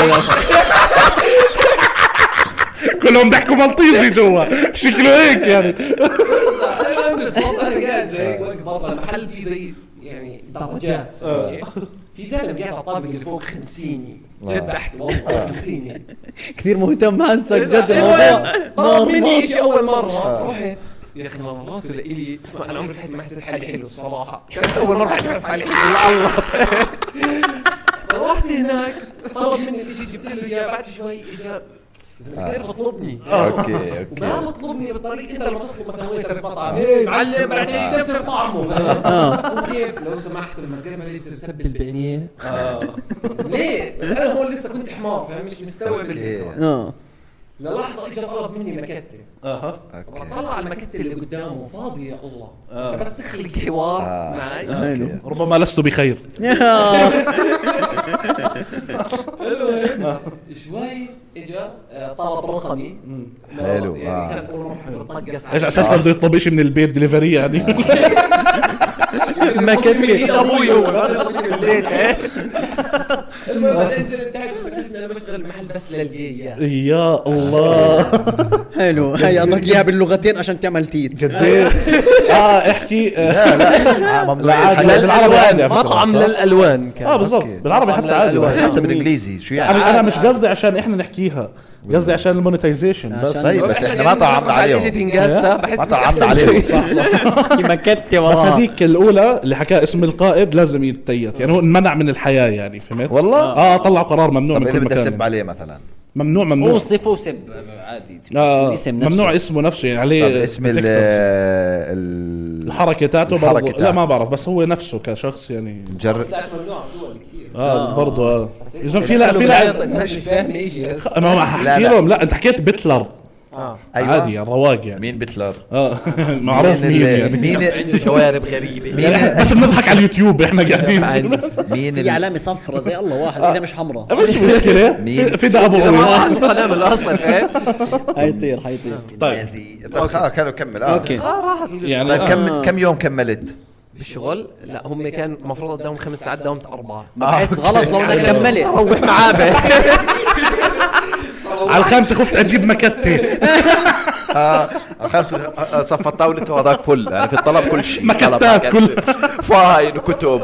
Speaker 1: كلهم بيحكوا مالطيزي جوا شكله هيك يعني
Speaker 6: أنا بالضبط انا قاعد زي واقف برا المحل في زي يعني درجات في زلمه قاعد على الطابق اللي فوق 50 جد بحكي والله 50
Speaker 2: كثير مهتم هسه جد
Speaker 6: أيوة.
Speaker 2: الموضوع
Speaker 6: المهم طلب مني شيء اول مره رحت يا اخي مرات لإلي اسمع انا عمري بحياتي ما حسيت حالي حلو الصراحه كانت اول مره بحياتي ما حسيت حالي حلو الله رحت هناك طلب مني الشيء جبت له اياه بعد شوي اجا زلمة كثير بطلبني
Speaker 5: آه، اوكي
Speaker 6: ما
Speaker 5: اوكي
Speaker 6: بطلبني بالطريق انت لما تطلب مكان ترى طعم
Speaker 5: إيه،
Speaker 6: ايه معلم بعدين
Speaker 5: آه.
Speaker 6: تبصر طعمه وكيف لو سمحت لما تقرب علي يصير سبل بعينيه
Speaker 5: آه.
Speaker 6: ليه بس انا هون لسه كنت حمار فاهم مش مستوعب الفكره
Speaker 5: اوكي
Speaker 2: آه.
Speaker 6: للحظه اجى طلب مني مكته
Speaker 5: اوكي
Speaker 6: بطلع على المكتة اللي قدامه فاضية يا الله
Speaker 5: آه.
Speaker 6: بس اخلق حوار معي
Speaker 2: حلو
Speaker 1: ربما لست بخير
Speaker 2: يا.
Speaker 6: شوي اجى آه، طلب رقمي لا،
Speaker 5: حلو،
Speaker 6: يعني
Speaker 5: آه.
Speaker 6: كانت اول مرة بطقس
Speaker 1: ايش اساسا بده يطلب شيء من البيت دليفري يعني
Speaker 2: المكتة.
Speaker 6: ايد ابوي هو هذا مش البيت المهم بعدين نزلت تحت شفت انا بشتغل اشتغل محل بس للجايات
Speaker 1: يا الله
Speaker 2: حلو هي اعطاك اياها باللغتين عشان تعمل تيت
Speaker 1: قد ايه اه احكي آه، لا عادي، لا، بالعربي عادي على
Speaker 6: للالوان
Speaker 1: فكرة،
Speaker 6: مطعم
Speaker 1: صح؟
Speaker 6: للالوان كان
Speaker 1: اه بالضبط
Speaker 5: أوكي.
Speaker 1: بالعربي حتى عادي
Speaker 5: بس
Speaker 6: بس
Speaker 5: حتى بالانجليزي شو يعني
Speaker 1: انا أنا مش قصدي عشان احنا نحكيها قصدي عشان المونتايزيشن بس
Speaker 5: طيب بس
Speaker 6: يعني
Speaker 5: احنا ما طعمنا عليهم
Speaker 6: هسه بحس
Speaker 5: ما
Speaker 6: مش أحسن
Speaker 5: طعمنا عليهم
Speaker 2: مكتة
Speaker 1: بس هذيك الاولى اللي حكاها اسم القائد لازم يتيت يعني هو انمنع من الحياه يعني فهمت
Speaker 5: والله؟
Speaker 1: اه طلعوا قرار ممنوع
Speaker 5: طب
Speaker 1: من
Speaker 5: اذا
Speaker 1: كل
Speaker 5: بدي اسب
Speaker 1: مكان
Speaker 5: عليه مثلا
Speaker 1: ممنوع ممنوع
Speaker 2: اوصف وسب عادي بس
Speaker 1: آه
Speaker 2: الاسم نفسه
Speaker 1: ممنوع اسمه نفسه يعني
Speaker 5: طب
Speaker 1: عليه
Speaker 5: اسم ال
Speaker 1: detectors.
Speaker 5: ال-
Speaker 1: الحركه تاعته
Speaker 5: الحركة
Speaker 1: برضه لا
Speaker 5: تاعته.
Speaker 1: ما بعرف بس هو نفسه كشخص يعني
Speaker 5: جر
Speaker 1: اه برضه اه يا زلمه في لا في لا
Speaker 6: مش فاهم شيء هسه
Speaker 1: ما ما
Speaker 5: لا،
Speaker 1: حكي
Speaker 5: لا.
Speaker 1: لهم لا انت حكيت بتلر
Speaker 6: اه
Speaker 5: أيوة.
Speaker 1: عادي الرواق يعني
Speaker 5: مين بتلر
Speaker 1: اه معروف
Speaker 5: ال-
Speaker 1: مين يعني
Speaker 5: مين
Speaker 6: عنده جوارب غريبه
Speaker 1: يعني إحنا بس بنضحك على اليوتيوب احنا
Speaker 6: يعني.
Speaker 1: قاعدين
Speaker 5: مين
Speaker 2: في
Speaker 5: ال-
Speaker 2: علامة صفرة زي الله واحد اذا مش حمراء
Speaker 1: مش مشكله
Speaker 5: مين؟
Speaker 1: في- في ده ابو غويط
Speaker 6: عنده قناه من الاصل فاهم
Speaker 2: حيطير حيطير
Speaker 1: طيب
Speaker 5: طيب آه، كانوا كمل اه
Speaker 2: اوكي
Speaker 6: اه راحت
Speaker 1: يعني
Speaker 5: طيب
Speaker 1: آه.
Speaker 5: كم كم يوم كملت؟
Speaker 6: بالشغل لا هم كان المفروض اداوم خمس ساعات داومت اربعه
Speaker 2: بحس غلط لو انك كملت
Speaker 6: روح معاه فاهم؟
Speaker 1: على الخامسه خفت اجيب مكتي
Speaker 5: اه خمس آه، صف الطاولة وهذاك فل يعني في الطلب كل شيء
Speaker 1: مكتات
Speaker 5: طلب،
Speaker 1: كل-
Speaker 5: فاين وكتب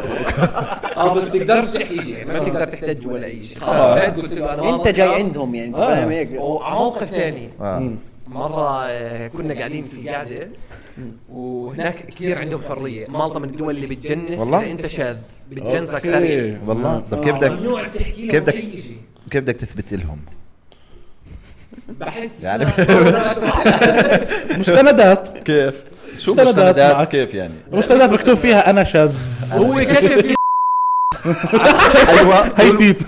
Speaker 6: اه بس تقدرش تحكي شيء يعني ما بتقدر تحتج ولا اي شيء خلاص فات قلت له انا
Speaker 2: انت
Speaker 6: واثق.
Speaker 2: جاي عندهم يعني انت فاهم هيك
Speaker 6: وعلى موقف ثاني
Speaker 5: آه.
Speaker 6: مرة آه، كنا قاعدين في قعدة وهناك كثير عندهم حرية مالطا من الدول اللي بتجنس
Speaker 5: والله؟
Speaker 6: إذا أنت شاذ بتجنسك سريع
Speaker 5: والله طب كيف بدك
Speaker 6: ممنوع تحكي
Speaker 5: كيف
Speaker 6: لهم
Speaker 5: بدك-
Speaker 6: أي شيء
Speaker 5: كيف بدك تثبت لهم؟
Speaker 6: بحس
Speaker 5: يعني-
Speaker 1: مستندات
Speaker 5: كيف؟ شو
Speaker 1: مستندات معك.
Speaker 5: مستندات كيف يعني؟
Speaker 1: مستندات مكتوب فيها انا شاذ
Speaker 6: هو كشف
Speaker 5: ايوه
Speaker 1: هي تيت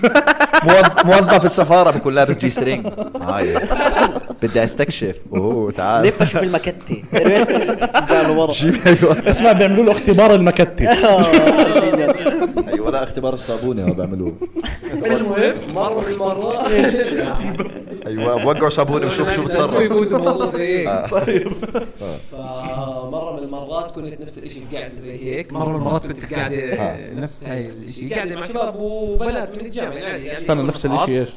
Speaker 5: موظف, موظف السفاره بكون لابس جي سترينج هاي بدي استكشف اوه تعال
Speaker 2: لف اشوف المكتة قالوا ورا
Speaker 5: ايوه
Speaker 1: اسمع بيعملوا له اختبار المكتي
Speaker 2: أيوة،
Speaker 5: ايوه لا اختبار الصابونه هو بيعملوه
Speaker 6: المهم مرة من المرات
Speaker 5: ايوه بوقعوا صابونه وشوف شو
Speaker 2: أيوة.
Speaker 5: بتصرف
Speaker 6: يفوت الموضوع زي هيك طيب فمرة من المرات كنت نفس الشيء في قعدة زي هيك مرة من المرات كنت في قعدة نفس هاي الشيء قعدة مع شباب وبنات من الجامعة يعني يعني
Speaker 1: استنى نفس الشيء ايش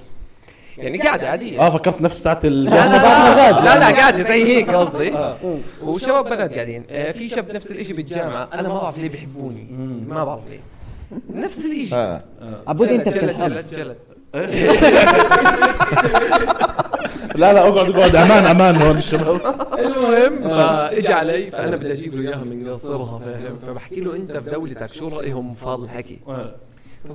Speaker 6: يعني قاعدة عادية
Speaker 1: اه فكرت نفس ساعه ال
Speaker 6: لا لا لا لا قاعدة زي هيك قصدي آه. وشباب بنات قاعدين آه، في شاب نفس الشيء بالجامعة أنا ما بعرف ليه بيحبوني ما بعرف ليه نفس الشيء
Speaker 5: آه.
Speaker 2: عبود انت بتنحب
Speaker 6: جلد جلد
Speaker 1: لا لا اقعد اقعد امان امان هون الشباب
Speaker 6: المهم فاجى آه. علي فانا بدي اجيب له اياها من قصرها فاهم آه. فبحكي له انت في دولتك شو رايهم في هذا الحكي؟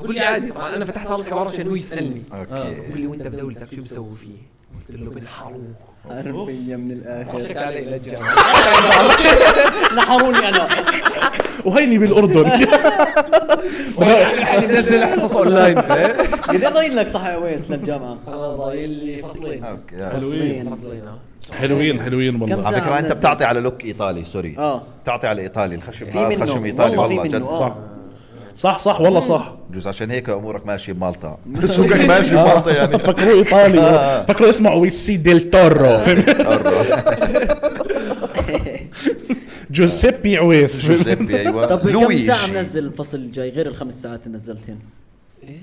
Speaker 6: بقول لي عادي طبعا انا فتحت هذا الحوار عشان هو يسالني
Speaker 5: اوكي
Speaker 6: بقول لي وانت في دولتك شو بسوي فيه؟ قلت له بنحروه
Speaker 2: حربية من الاخر
Speaker 6: شك علي للجامعه
Speaker 2: نحروني انا
Speaker 1: وهيني بالاردن
Speaker 6: يعني نزل حصص اونلاين فاهم؟
Speaker 2: قد ايه ضايل لك صح يا ويس للجامعة
Speaker 6: انا ضايل لي فصلين
Speaker 5: اوكي آه.
Speaker 2: فصلين
Speaker 6: فصلين آه.
Speaker 1: حلوين حلوين والله
Speaker 5: على فكره انت
Speaker 2: نزل.
Speaker 5: بتعطي على لوك ايطالي سوري
Speaker 2: آه.
Speaker 5: بتعطي على ايطالي الخشم
Speaker 2: في منه
Speaker 5: آه، خشم ايطالي
Speaker 2: والله
Speaker 5: والله
Speaker 2: في منه
Speaker 5: جد
Speaker 2: آه.
Speaker 1: صح صح والله صح
Speaker 5: بجوز عشان هيك امورك ماشيه بمالطا سوقك ماشي بمالطا يعني
Speaker 1: فكروا ايطالي فكروا اسمه اويسي ديل تورو فهمت؟ جوزيبي عويس فهمت؟
Speaker 5: جوزيبي ايوه
Speaker 2: طب كم
Speaker 5: لويجي
Speaker 2: ساعة منزل الفصل الجاي غير الخمس ساعات اللي نزلتهن؟
Speaker 6: إيه؟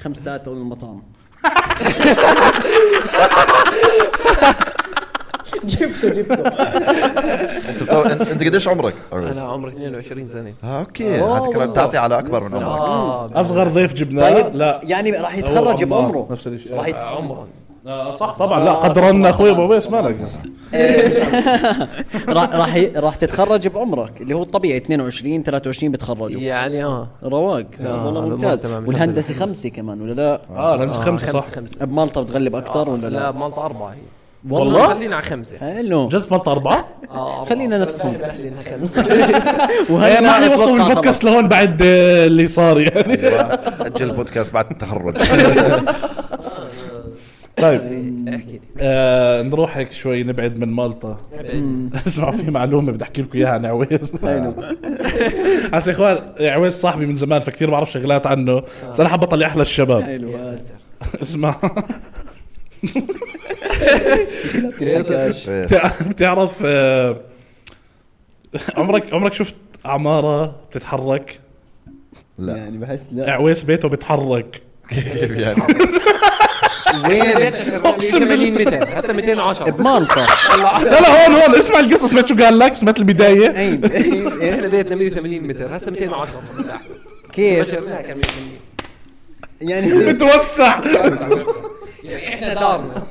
Speaker 2: خمس ساعات تبع المطعم جبته جبته
Speaker 5: انت بتو- أنت- انت قديش عمرك؟
Speaker 6: انا عمري 22 سنه
Speaker 5: آه، اوكي على فكره بتعطي على اكبر من عمرك
Speaker 6: اه
Speaker 1: اصغر ضيف جبناه
Speaker 2: طيب
Speaker 1: لا
Speaker 2: يعني راح
Speaker 1: هو
Speaker 2: يتخرج
Speaker 1: عمار،
Speaker 2: بعمره
Speaker 1: نفس الشيء
Speaker 2: راح يت...
Speaker 6: عمرا
Speaker 1: آه، صح طبعا لا قدرنا اخوي ابو ويس مالك
Speaker 2: راح راح ي- راح تتخرج بعمرك اللي هو الطبيعي 22 23 بتخرجوا
Speaker 6: يعني اه
Speaker 2: رواق
Speaker 6: آه،
Speaker 2: والله
Speaker 6: هذا
Speaker 2: ممتاز
Speaker 6: تمام.
Speaker 2: والهندسه خمسه كمان ولا لا؟
Speaker 1: اه لازم خمسه صح
Speaker 6: آه، خمسة
Speaker 2: بمالطا بتغلب اكثر ولا
Speaker 6: لا
Speaker 2: لا؟
Speaker 6: مالطا أربعة هي
Speaker 1: والله؟
Speaker 6: خلينا على خمسة
Speaker 2: حلو
Speaker 1: جد فلت اربعه؟
Speaker 6: آه،
Speaker 2: خلينا
Speaker 6: أربعة.
Speaker 2: نفسهم.
Speaker 6: سامح أهلي إنها خمسة
Speaker 1: إيه، ما
Speaker 2: أتوقع
Speaker 1: حيوصلوا
Speaker 2: خلاص.
Speaker 1: البودكاست لهون بعد آه، اللي صار يعني
Speaker 5: أيوة. اجل البودكاست بعد التخرج
Speaker 1: طيب
Speaker 6: احكي لي
Speaker 1: آه نروح هيك شوي نبعد من مالطا اسمعوا في معلومه بدي احكي لكم اياها عن عويس هسه يا اخوان عويس صاحبي من زمان فكثير بعرف شغلات عنه بس انا حاب اطلع احلى الشباب
Speaker 2: حلو آه.
Speaker 1: اسمع
Speaker 5: إيه.
Speaker 1: بتع- بتعرف آه، عمرك عمرك شفت عماره بتتحرك
Speaker 5: لا
Speaker 2: يعني بحس لا
Speaker 1: عويس بيته بيتحرك
Speaker 5: كيف يعني
Speaker 6: إيه،
Speaker 5: وين
Speaker 1: أقسم بالله.
Speaker 6: 80 متر هسه 210
Speaker 2: بمالطا
Speaker 1: لا لا هون هون اسمع القصه سمعت شو قال لك سمعت البدايه
Speaker 2: اي إيه،
Speaker 6: احنا ديتنا 180 متر هسه 210 مساحته
Speaker 2: كيف
Speaker 6: بشرناها كم 100%
Speaker 2: يعني
Speaker 1: بتوسع
Speaker 6: يعني احنا دارنا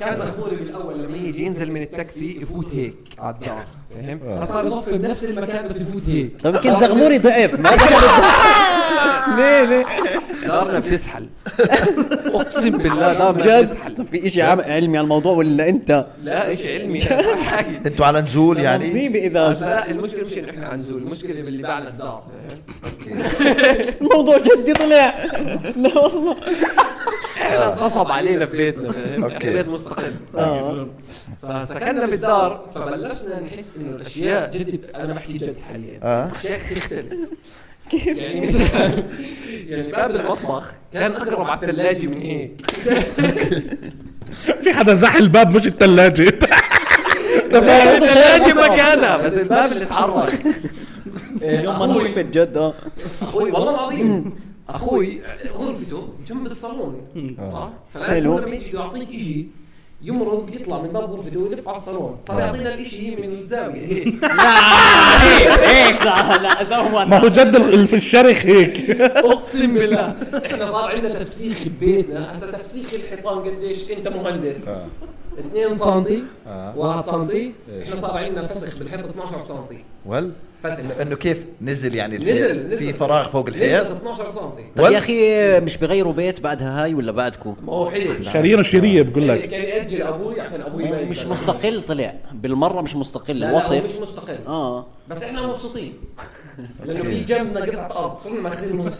Speaker 6: كان زغبوري بالاول لما يجي ينزل من التاكسي يفوت هيك على الدار فاهم؟ فصار يصف بنفس المكان بس يفوت هيك
Speaker 2: طب يمكن زغموري ضعف ما ليه ليه
Speaker 6: دارنا بتسحل اقسم بالله دارنا
Speaker 2: جد
Speaker 6: بتسحل
Speaker 2: طب في شيء علمي على الموضوع ولا انت
Speaker 6: لا ايش علمي أنا حاجة.
Speaker 5: انتوا على نزول يعني
Speaker 2: مصيبه
Speaker 6: بس
Speaker 2: اذا
Speaker 6: لا المشكله مش ان احنا عن زول المشكله باللي باعنا الدار فاهم؟
Speaker 2: الموضوع جدي طلع لا والله
Speaker 6: احنا انغصب علينا في بيتنا فاهم؟
Speaker 5: أوكي. آه.
Speaker 6: احنا بيت مستقل فسكننا في الدار فبلشنا نحس انه الاشياء جد انا بحكي جد حاليا
Speaker 5: آه.
Speaker 6: الاشياء تختلف يعني يعني باب المطبخ كان اقرب على الثلاجه من ايه
Speaker 1: في حدا زحل الباب مش الثلاجه
Speaker 6: الثلاجه مكانها بس الباب اللي اتحرك إيه،
Speaker 2: يوم ما
Speaker 6: اخوي
Speaker 2: نخفت جد اه
Speaker 6: اخوي والله العظيم اخوي غرفته جنب الصالون آه. صح؟
Speaker 2: حلو.
Speaker 6: فلازم لما يجي بده يعطيك شيء يمرق يطلع من باب غرفته ويلف على الصالون صار يعطينا الشيء من الزاويه هيك
Speaker 2: هيك صح لا زهون
Speaker 1: ما هو جد ال- في الشرخ هيك
Speaker 6: اقسم بالله احنا صار عندنا تفسيخ ببيتنا هسه تفسيخ الحيطان قديش انت مهندس 2 سم 1 سم احنا صار عندنا فسخ بالحيط 12 سم
Speaker 5: ول
Speaker 6: فسخ
Speaker 5: انه كيف نزل يعني
Speaker 6: نزل-
Speaker 5: الحيط في
Speaker 6: نزل.
Speaker 5: فراغ فوق
Speaker 6: نزل
Speaker 5: الحيط
Speaker 6: 12 سم
Speaker 5: وال-
Speaker 3: طيب يا اخي مش بغيروا بيت بعدها هاي ولا بعدكم؟
Speaker 6: ما هو حلو يعني
Speaker 1: شرير شرية بقول لك
Speaker 6: كان ياجل ابوي عشان ابوي ما
Speaker 3: مش
Speaker 6: يقدر.
Speaker 3: مستقل طلع بالمره مش مستقل
Speaker 6: لا لا هو
Speaker 3: وصف
Speaker 6: مش مستقل
Speaker 3: اه
Speaker 6: بس احنا مبسوطين لانه في جنبنا قطعه ارض صرنا ماخذين نص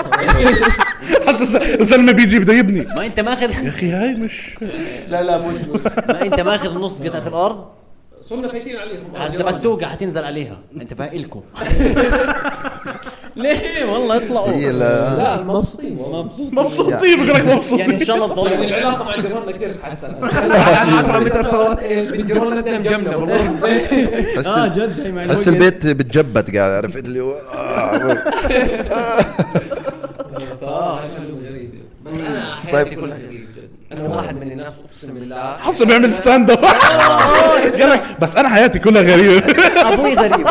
Speaker 1: حسس الزلمه بيجي بده يبني
Speaker 3: ما انت ماخذ
Speaker 1: يا اخي هاي مش
Speaker 6: لا لا مش مش
Speaker 3: ما انت ماخذ نص قطعه الارض
Speaker 6: صرنا فايتين عليهم
Speaker 3: هسه بس توقع حتنزل عليها انت بقى الكم
Speaker 2: ليه والله
Speaker 5: هي
Speaker 2: اطلعوا
Speaker 5: لا
Speaker 6: لا مبسوطين والله
Speaker 1: مبسوطين بقول لك
Speaker 2: يعني ان
Speaker 1: مبسوطين
Speaker 2: شاء الله
Speaker 6: يعني
Speaker 2: تضل
Speaker 6: العلاقه مع جيراننا كثير تحسنت 10 متر صارت ايش جيراننا تنام جنبنا والله
Speaker 5: بس
Speaker 2: جد هي معلومة
Speaker 5: بس
Speaker 2: جد.
Speaker 5: البيت بتجبت قاعد عرفت اللي هو آه،
Speaker 6: اه غريبه بس انا حياتي كلها غريبه جد انا واحد من الناس اقسم بالله
Speaker 1: حسه بيعمل ستاند
Speaker 6: آه،
Speaker 1: اب قال لك بس انا حياتي كلها غريبه
Speaker 2: ابوي غريب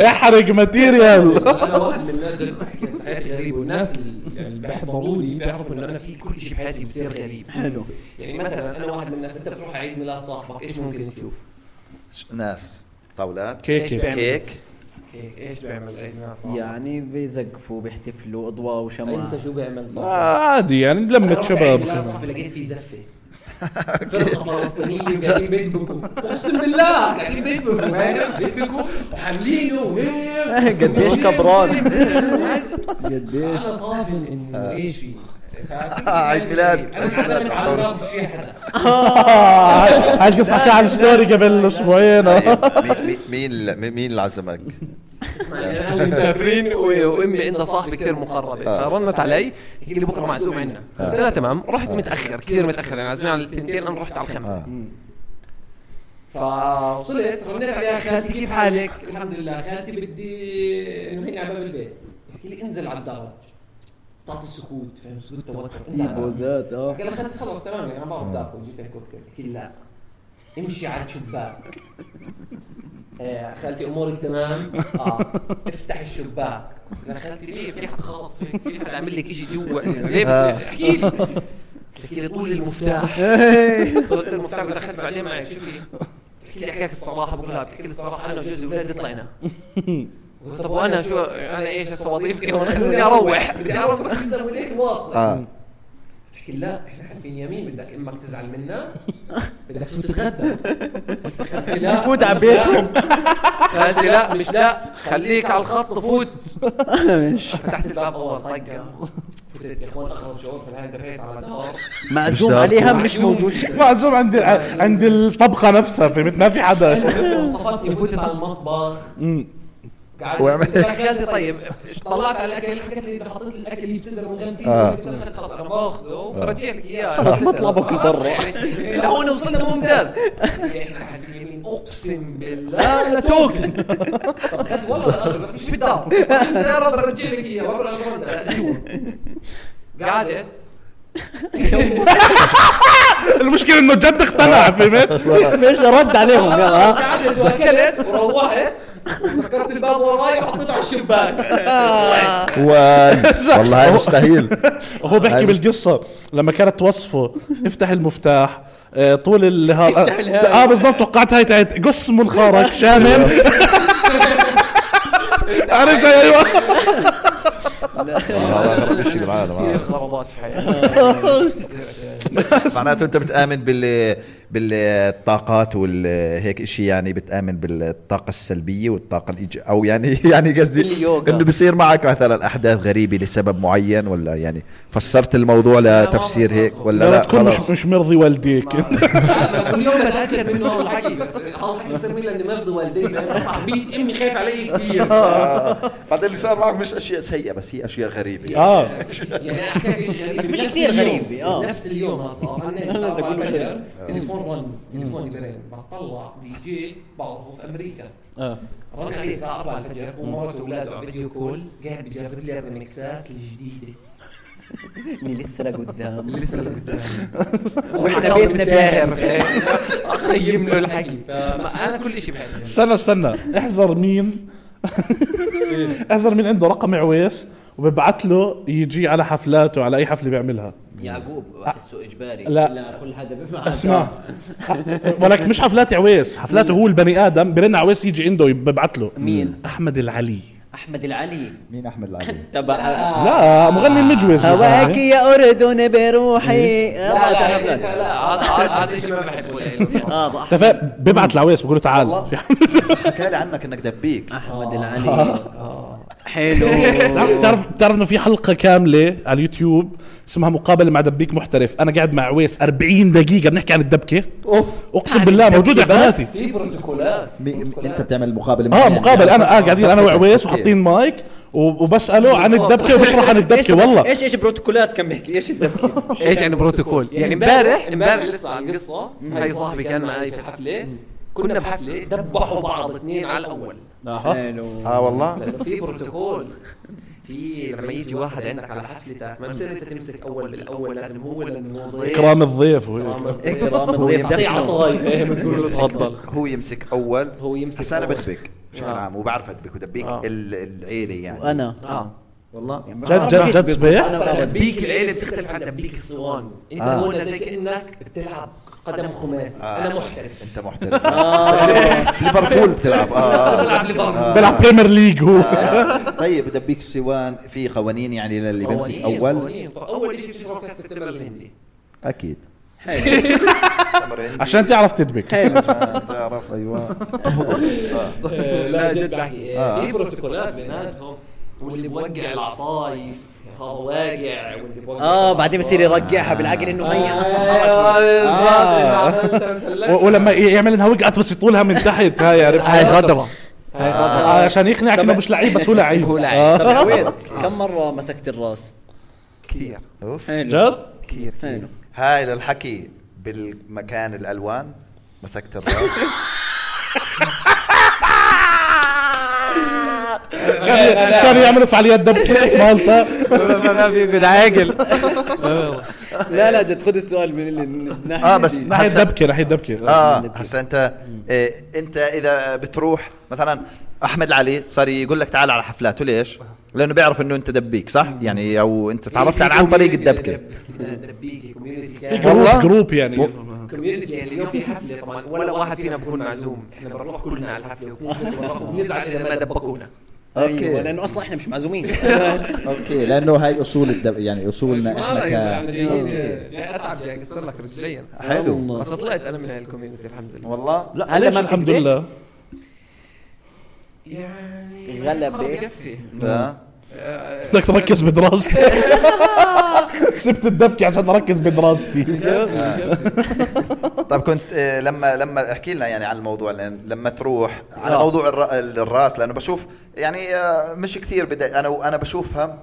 Speaker 1: احرق ماتيريال
Speaker 6: انا واحد من الناس جد بحكي حياتي غريبه والناس اللي بيحضروا لي بيعرفوا انه انا في كل شيء بحياتي بصير غريب حلو يعني مثلا انا واحد من الناس انت بتروح على عيد ميلاد صاحبك ايش ممكن تشوف؟
Speaker 5: ناس طاولات
Speaker 6: إيش
Speaker 1: كيكه
Speaker 6: بيعمل؟
Speaker 5: كيك
Speaker 6: كيك، ايش بيعمل عيد ميلاد صاحبك؟
Speaker 2: يعني بيزقفوا بيحتفلوا اضواء وشمعة
Speaker 6: انت شو بيعمل صاحبك؟
Speaker 1: آه، عادي يعني لمة شباب
Speaker 6: لا
Speaker 1: كده.
Speaker 6: صاحبي لقيت في زفه فرقه فلسطينيه قاعدين بيدبكوا اقسم بالله قاعدين بيدبكوا فاهم؟ بيدبكوا وحاملينه وهيك
Speaker 5: إيه، قديش كبران.
Speaker 6: قديش انا صافن انه ايش في
Speaker 5: آه، عيد ميلاد.
Speaker 6: انا انعزمت على الراب شيء حدا
Speaker 1: آه، هاي القصه حكاها على الستوري قبل اسبوعين آه.
Speaker 5: مين- طيب. مين- مين مين اللي عزمك؟
Speaker 6: يعني أهلي مسافرين و- وامي عندها صاحبه كثير مقربه فرنت علي قالت لي بكره معزوم عندنا قلت لها تمام رحت متاخر كثير متاخر يعني عازمين على التنتين انا رحت على الخمسه فوصلت رنيت عليها خالتي كيف حالك؟ الحمد لله خالتي بدي انه على باب البيت قلت لي انزل على الدرج طاقة سكوت فاهم سكوت توتر انزل على الدرج.
Speaker 2: بوزات اه
Speaker 6: قال لي خالتي خلص تمام يعني ما بعرف تاكل جبت لك كوكتيل قلت لي لا امشي على الشباك إيه، خالتي امورك تمام اه افتح الشباك انا خالتي ليه في حد خاطف فيك؟ في حد عامل لك شيء جوا ليه بت- احكي لي قلت لي طول المفتاح طولت المفتاح ودخلت بعدين معي شو في بتحكي لي حكاك الصراحه بقول لها بتحكي لي الصراحه انا وجوزي واولادي طلعنا طب وانا شو انا ايش هسه وظيفتي هون خلوني اروح بدي اروح بحزم وليك واصل
Speaker 2: آه.
Speaker 5: اه
Speaker 6: بتحكي لي لا احنا حالفين يمين بدك امك تزعل منا بدك تفوت تتغدى قلت لي لا
Speaker 2: فوت على
Speaker 6: مش لا.
Speaker 2: بيتهم
Speaker 6: قالت لي لا مش لا خليك على الخط فوت فتحت الباب اول طقه فتت يا اخوان اخر شعور في الهند دفيت على الدار
Speaker 2: معزوم
Speaker 5: مش دار.
Speaker 2: عليها مش موجود
Speaker 1: معزوم عند عند الطبخه نفسها فهمت ما في حدا
Speaker 6: وصفتني فتت على المطبخ
Speaker 5: وعمل-
Speaker 6: قعدت خالتي طيب طلعت على الاكل حكيت لي إذا حطيت الاكل اللي بصدر وغن فيه قلت لها خلاص انا باخذه برجع لك اياه بس
Speaker 2: بطلع باكل برا.
Speaker 6: لهون وصلنا ممتاز احنا حد يمين اقسم بالله لا توكل طب خد والله الأرض، بس مش بالدار سيارة برجع لك اياه برا الأرض، جوا قعدت
Speaker 1: المشكله انه جد اقتنع فهمت؟
Speaker 2: ايش رد عليهم يلا ها؟
Speaker 6: قعدت واكلت وروحت سكرت الباب وراي وحطيته على الشباك
Speaker 4: والله هاي مستحيل
Speaker 1: هو بيحكي
Speaker 4: هاي بس-
Speaker 1: بالقصه لما كانت توصفه افتح المفتاح آه، طول ال هذا اه بالضبط توقعت هاي تاعت قص منخارك شامل عرفت ايوه
Speaker 4: والله أغرب شيء بالعالم
Speaker 6: كثير
Speaker 4: آه.
Speaker 6: خرابات في حياتي
Speaker 5: معناته انت بتامن بال بالطاقات والهيك شيء يعني بتامن بالطاقه السلبيه والطاقه الإيج... او يعني يعني قصدي
Speaker 2: باليوغا.
Speaker 5: انه بصير معك مثلا احداث غريبه لسبب معين ولا يعني فسرت الموضوع لتفسير هيك ولا
Speaker 1: لا
Speaker 5: لا
Speaker 1: تكون مش
Speaker 5: خلاص
Speaker 1: مش مرضي والديك
Speaker 6: أنا كل يوم بتاكد منه هذا الحكي بس هذا الحكي بسميه لاني مرضي والدي لأن صاحبية امي خايف علي كثير
Speaker 5: بعدين اللي صار معك مش اشياء سيئه بس هي اشياء غريبه
Speaker 1: اه
Speaker 6: يعني احكي شيء غريب
Speaker 3: بس مش
Speaker 6: نفس
Speaker 3: كثير
Speaker 6: اليوم.
Speaker 3: غريب، آه.
Speaker 6: نفس اليوم هذا صار انا الساعه 4 الفجر تليفون رن تليفوني برن بطلع دي جي بعرفه في امريكا رن علي الساعه 4 الفجر هو ومراته واولاده على فيديو كول قاعد بيجرب لي الريمكسات الجديده
Speaker 2: اللي لسه لقدام
Speaker 6: لسه لقدام
Speaker 2: واحنا بيتنا فيها
Speaker 6: اخيم له الحكي فانا كل شيء بحبه
Speaker 1: استنى استنى احذر مين احذر مين عنده رقم عويس وببعت له يجي على حفلاته على اي حفله بيعملها
Speaker 3: يعقوب احسه اجباري
Speaker 1: لا.
Speaker 3: لا كل حدا بيفهم
Speaker 1: اسمع ولكن مش حفلات عويس حفلاته هو البني ادم برن عويس يجي عنده ببعت له
Speaker 3: مين؟
Speaker 1: احمد العلي
Speaker 3: احمد العلي
Speaker 4: مين احمد العلي
Speaker 3: تبع
Speaker 6: آه.
Speaker 1: آه. لا مغني المجوز
Speaker 2: هواك يا اردن بروحي
Speaker 6: لا
Speaker 2: يلا
Speaker 6: لا
Speaker 2: تعال
Speaker 6: لا لا هذا- هذا شيء ما بحبه يعني لإله.
Speaker 2: آه،
Speaker 3: هذا أحمد-
Speaker 1: تفا ببعت لعويس بقول له تعال في حفلة.
Speaker 5: حكى لي عنك انك دبيك
Speaker 3: احمد العلي
Speaker 1: آه،
Speaker 3: حلو
Speaker 1: بتعرف- بتعرف بتعرف انه في حلقه كامله على اليوتيوب اسمها مقابله مع دبيك محترف انا قاعد مع عويس 40 دقيقه بنحكي عن الدبكه
Speaker 4: اوف
Speaker 6: يعني
Speaker 1: اقسم بالله موجوده على قناتي
Speaker 6: في بروتوكولات
Speaker 4: انت بتعمل مقابله
Speaker 1: اه
Speaker 6: يعني
Speaker 4: معينة.
Speaker 1: مقابل انا اه قاعدين انا
Speaker 4: صفحة
Speaker 1: وعويس
Speaker 4: تحكي.
Speaker 1: وحاطين مايك و- وبساله عن الدبكه وبشرح عن الدبكه والله
Speaker 2: ايش ايش بروتوكولات كان بيحكي ايش الدبكه
Speaker 6: ايش يعني بروتوكول؟ يعني امبارح امبارح لسه على القصه هاي صاحبي كان معي في الحفله كنا بحفله دبحوا بعض اثنين على الاول
Speaker 2: حلو
Speaker 5: اه والله
Speaker 6: لانه في بروتوكول في لما يجي واحد عندك على حفلتك ما بصير انت تمسك اول بالاول لازم هو لانه هو ضيف
Speaker 1: اكرام الضيف وهيك.
Speaker 6: آه،
Speaker 2: اكرام
Speaker 5: إيه،
Speaker 2: الضيف
Speaker 6: تصيع على
Speaker 2: دبكة.
Speaker 6: الصغير فاهم تقول له تفضل
Speaker 5: هو يمسك اول
Speaker 6: هو يمسك
Speaker 5: بس انا
Speaker 6: أول.
Speaker 5: بدبك بشكل عام وبعرف ادبك ودبيك
Speaker 6: آه.
Speaker 5: ال- العيله يعني
Speaker 2: وانا
Speaker 5: والله يعني
Speaker 1: جد جد جد صبيح
Speaker 6: دبيك العيله بتختلف عن دبيك الصوان إيه انت هون زي كانك بتلعب قدم خماس انا محترف
Speaker 5: انت محترف ليفربول بتلعب اه
Speaker 6: بلعب آه. ليفربول
Speaker 1: بيلعب بريمير ليج
Speaker 6: آه.
Speaker 1: هو
Speaker 5: طيب بدبيك السوان في قوانين يعني للي بيمسك
Speaker 6: قوانين،
Speaker 5: اول
Speaker 6: قوانين. اول شيء بتشرب كاسه تمر الهندي
Speaker 5: اكيد
Speaker 1: عشان تعرف تدبك
Speaker 5: تعرف ايوه
Speaker 6: لا جد بحكي آه، في بروتوكولات بيناتهم واللي بوقع العصاي هذا واقع واللي آه، بوقع
Speaker 2: اه بعدين بصير يرجعها بالعقل انه هي اصلا حركه
Speaker 1: و-
Speaker 6: اصلا
Speaker 1: ولما آه، ي- يعمل انها وقعت بس يطولها من تحت هاي عرفت
Speaker 6: هاي غدرة
Speaker 1: آه، عشان يقنعك انه مش لعيب بس هو لعيب
Speaker 6: هو لعيب.
Speaker 1: آه.
Speaker 2: طب يا ويس كم مره مسكت الراس
Speaker 6: كثير
Speaker 5: اوف
Speaker 1: جد
Speaker 6: كثير كثير
Speaker 5: هاي للحكي بالمكان الالوان مسكت الراس
Speaker 1: كان كانوا يعملوا فعاليات دبكه في مالطا
Speaker 6: ما بيقعد عاقل
Speaker 2: لا لا جد خذ السؤال من اللي من الناحيه
Speaker 1: آه،
Speaker 5: اه بس
Speaker 2: دي.
Speaker 1: ناحيه
Speaker 5: هسا-
Speaker 1: دبكه ناحيه دبكه
Speaker 5: اه هسا انت إيه انت اذا بتروح مثلا احمد علي صار يقول لك تعال على حفلاته ليش؟ لانه بيعرف انه انت دبيك صح؟ يعني او
Speaker 6: إيه،
Speaker 5: انت تعرفت على- عن طريق الدبكه
Speaker 6: الدبيكه
Speaker 1: في
Speaker 6: كوميونتي
Speaker 1: جروب جروب يعني
Speaker 6: كوميونتي يعني اليوم في حفله طبعا ولا واحد فينا بكون معزوم احنا بنروح كلنا على الحفله وبنزعل اذا ما دبكونا
Speaker 2: ايوه لانه اصلا احنا مش معزومين
Speaker 4: اوكي لانه هاي اصول الدب... يعني اصولنا
Speaker 6: ما
Speaker 4: احنا
Speaker 6: آه، يزعل،
Speaker 4: ك
Speaker 6: انا جايين جاي اتعب جاي اكسر لك رجليا
Speaker 5: حلو
Speaker 6: بس طلعت انا من هاي الكوميونتي الحمد لله
Speaker 5: والله
Speaker 1: لا هلا
Speaker 2: ما
Speaker 1: الحمد
Speaker 2: بتدبك؟
Speaker 1: لله
Speaker 6: يعني
Speaker 2: غلبة.
Speaker 6: صار بكفي
Speaker 5: لا
Speaker 1: بدك تركز بدراستي سبت الدبكه عشان اركز بدراستي
Speaker 5: طيب كنت آه، لما لما احكي لنا يعني عن الموضوع لأن لما تروح على
Speaker 2: آه.
Speaker 5: موضوع الر- الراس لانه بشوف يعني آه، مش كثير بدأ انا انا بشوفها